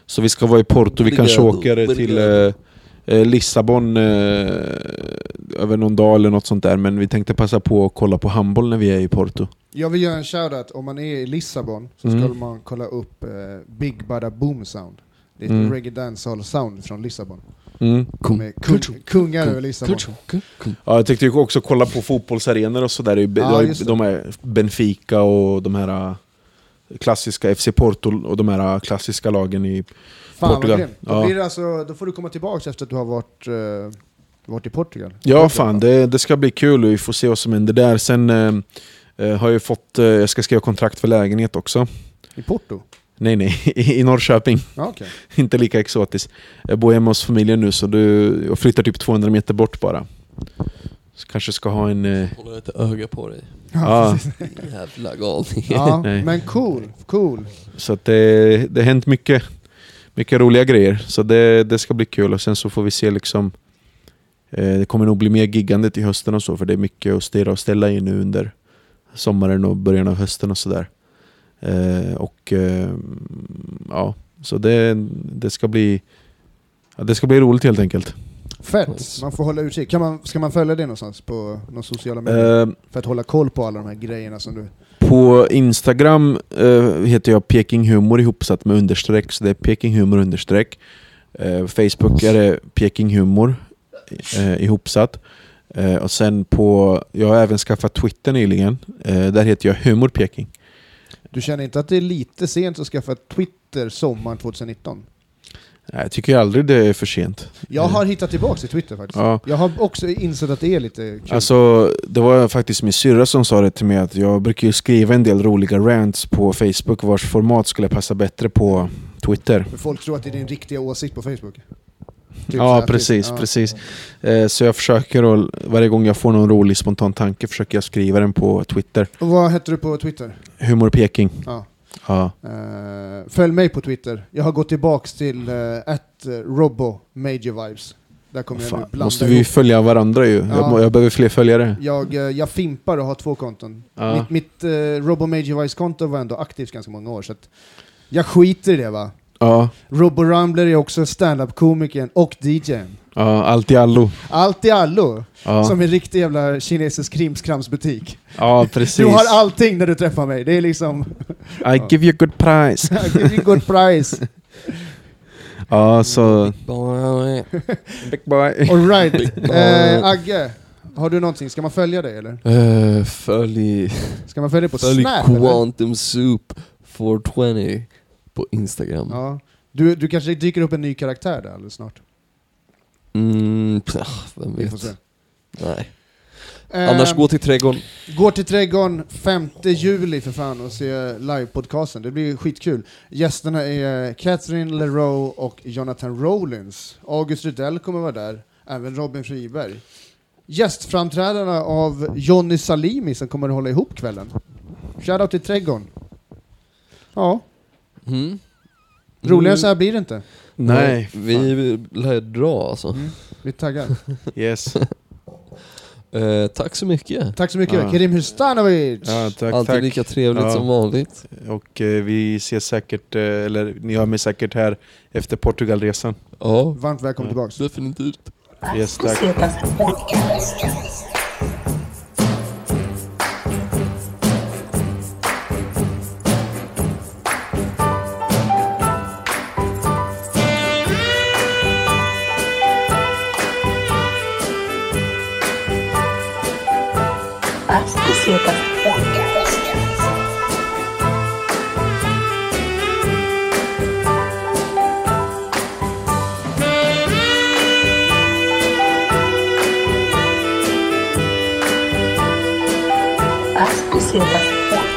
Speaker 4: Så vi ska vara i Porto, vi kanske
Speaker 2: Obrigado,
Speaker 4: åker till eh,
Speaker 2: obrigado.
Speaker 4: eh, Lissabon eh, över någon dag eller något sånt där. Men vi tänkte passa på att kolla på handboll när vi är i Porto.
Speaker 5: Jag vill göra en shoutout, om man är i Lissabon så
Speaker 4: Mm.
Speaker 5: ska man kolla upp eh, Big Bada Boom Sound. Det är ett
Speaker 4: Mm.
Speaker 5: reggae dancehall sound från Lissabon.
Speaker 4: Mm.
Speaker 5: Med kung, kungar över Lissabon.
Speaker 4: Ja, jag tänkte ju också kolla på fotbollsarenor och sådär. Det är ju Be-
Speaker 5: Ja,
Speaker 4: det har ju
Speaker 5: just det.
Speaker 4: de här Benfica och de här eh, klassiska FC Porto och de här äh, klassiska lagen i
Speaker 5: Fan
Speaker 4: Portugal.
Speaker 5: vad grymt. Då,
Speaker 4: Ja.
Speaker 5: blir det alltså, då får du komma tillbaka efter att du har varit, eh, varit i Portugal.
Speaker 4: Ja fan, det, det ska bli kul och vi får se vad som händer där. Sen eh, eh, har jag ju fått, eh, jag ska skriva kontrakt för lägenhet också.
Speaker 5: I Porto?
Speaker 4: Nej nej, i, i Norrköping.
Speaker 5: Ja, okej.
Speaker 4: Inte lika exotiskt. Jag bor hemma hos familjen nu så du, jag flyttar typ 200 meter bort bara. Så kanske ska ha en... Eh,
Speaker 2: Håller ett öga på dig.
Speaker 4: ja,
Speaker 2: Jävla galning.
Speaker 5: Ja,
Speaker 4: Nej.
Speaker 5: men cool, cool.
Speaker 4: så att det, det har hänt mycket, mycket roliga grejer. Så det, det ska bli kul och sen så får vi se liksom eh, Det kommer nog bli mer giggande till hösten och så för det är mycket att styra och ställa i nu under sommaren och början av hösten och sådär. Eh, och eh, ja, så det, det ska bli ja, Det ska bli roligt helt enkelt.
Speaker 5: Fett,
Speaker 2: Nice.
Speaker 5: man får hålla utkik. Kan man, ska man följa det någonstans på några sociala medier?
Speaker 4: Eh,
Speaker 5: För att hålla koll på alla de här grejerna som du...
Speaker 4: på Instagram eh, heter jag Peking Humor ihopsatt med understreck, så det är Peking Humor understreck. Eh, Facebook är det Peking Humor eh, ihopsatt. Eh, och sen på, jag har även skaffat Twitter nyligen, eh, där heter jag Humor Peking.
Speaker 5: Du känner inte att det är lite sent att skaffa Twitter sommaren 2019?
Speaker 4: Nej, jag tycker aldrig det är för sent.
Speaker 5: Jag
Speaker 4: Mm.
Speaker 5: har hittat tillbaka till Twitter faktiskt.
Speaker 4: Ja.
Speaker 5: Jag har också insett att det är lite kul.
Speaker 4: Alltså, det var faktiskt min syrra som sa det till mig att jag brukar ju skriva en del roliga rants på Facebook vars format skulle passa bättre på Twitter.
Speaker 5: För folk tror att det är din riktiga åsikt på Facebook. Typ så här,
Speaker 4: Ja,
Speaker 5: typ.
Speaker 4: precis,
Speaker 5: Ja.
Speaker 4: precis. Eh, Så jag försöker, att- varje gång jag får någon rolig spontan tanke försöker jag skriva den på Twitter.
Speaker 5: Och vad heter du på Twitter?
Speaker 4: Humor Peking.
Speaker 5: Ja.
Speaker 4: Ja.
Speaker 5: Eh, följ mig på Twitter. Jag har gått tillbaks till uh, at eh, Robbo eh, Major Vibes. Där kommer jag nu
Speaker 4: Fan,
Speaker 5: blanda
Speaker 4: måste vi ju
Speaker 5: ihop.
Speaker 4: följa varandra ju. Jag,
Speaker 5: Ja.
Speaker 4: må- jag behöver fler följare.
Speaker 5: jag, eh, jag fimpar och har två konton.
Speaker 4: Ja.
Speaker 5: Mitt, mitt eh, RoboMagevice-konto var ändå aktivt ganska många år, så att jag skiter i det va.
Speaker 4: Ja,
Speaker 5: Robo Rumbler är också standup-komikern och DJn.
Speaker 4: ja allt i allo.
Speaker 5: Allt i allo,
Speaker 4: Ja,
Speaker 5: som en riktig jävla kinesisk krimskramsbutik.
Speaker 4: ja precis.
Speaker 5: Du har allting när du träffar mig, det är liksom...
Speaker 4: I give you good price.
Speaker 5: I give you good price.
Speaker 4: Ja, så... Big boy.
Speaker 5: Alright. Eh, Agge, har du någonting? Ska man följa dig eller?
Speaker 2: Eh, Följ,
Speaker 5: Ska man följa dig på
Speaker 2: följ
Speaker 5: Snap eller?
Speaker 2: Quantum Soup 420 på Instagram.
Speaker 5: Ja. Du, du kanske dyker upp en ny karaktär där alldeles snart.
Speaker 2: Mm, pff, vem
Speaker 5: Vi får
Speaker 2: vet.
Speaker 5: se.
Speaker 2: Nej.
Speaker 5: Eh,
Speaker 2: Annars gå till trädgården.
Speaker 5: Gå till trädgården 5 juli för fan och se livepodcasten, det blir skitkul. Gästerna är Catherine Leroux och Jonathan Rollins. August Rydell kommer vara där, även Robin Friberg. Gästframträdarna av Jonny Salimi som kommer att hålla ihop kvällen. Shoutout till trädgården. Ja,
Speaker 2: Mm.
Speaker 4: Mm.
Speaker 5: roligare så här blir det inte.
Speaker 4: Nej.
Speaker 2: Vi lär dra alltså.
Speaker 5: Vi taggar.
Speaker 4: Yes.
Speaker 2: Eh, tack så mycket.
Speaker 5: Tack så mycket,
Speaker 4: Ja.
Speaker 5: Kerim Hustanovic!
Speaker 4: Ja, tack,
Speaker 2: Alltid
Speaker 4: tack.
Speaker 2: lika trevligt
Speaker 4: Ja.
Speaker 2: som vanligt.
Speaker 4: Och eh, vi ses säkert, eh, eller ni hör mig säkert här efter Portugalresan.
Speaker 2: Ja,
Speaker 5: Varmt välkommen tillbaks.
Speaker 2: definitivt.
Speaker 4: Yes, tack.
Speaker 3: Setas podcast. As pesetas podcast. As pesetas podcast.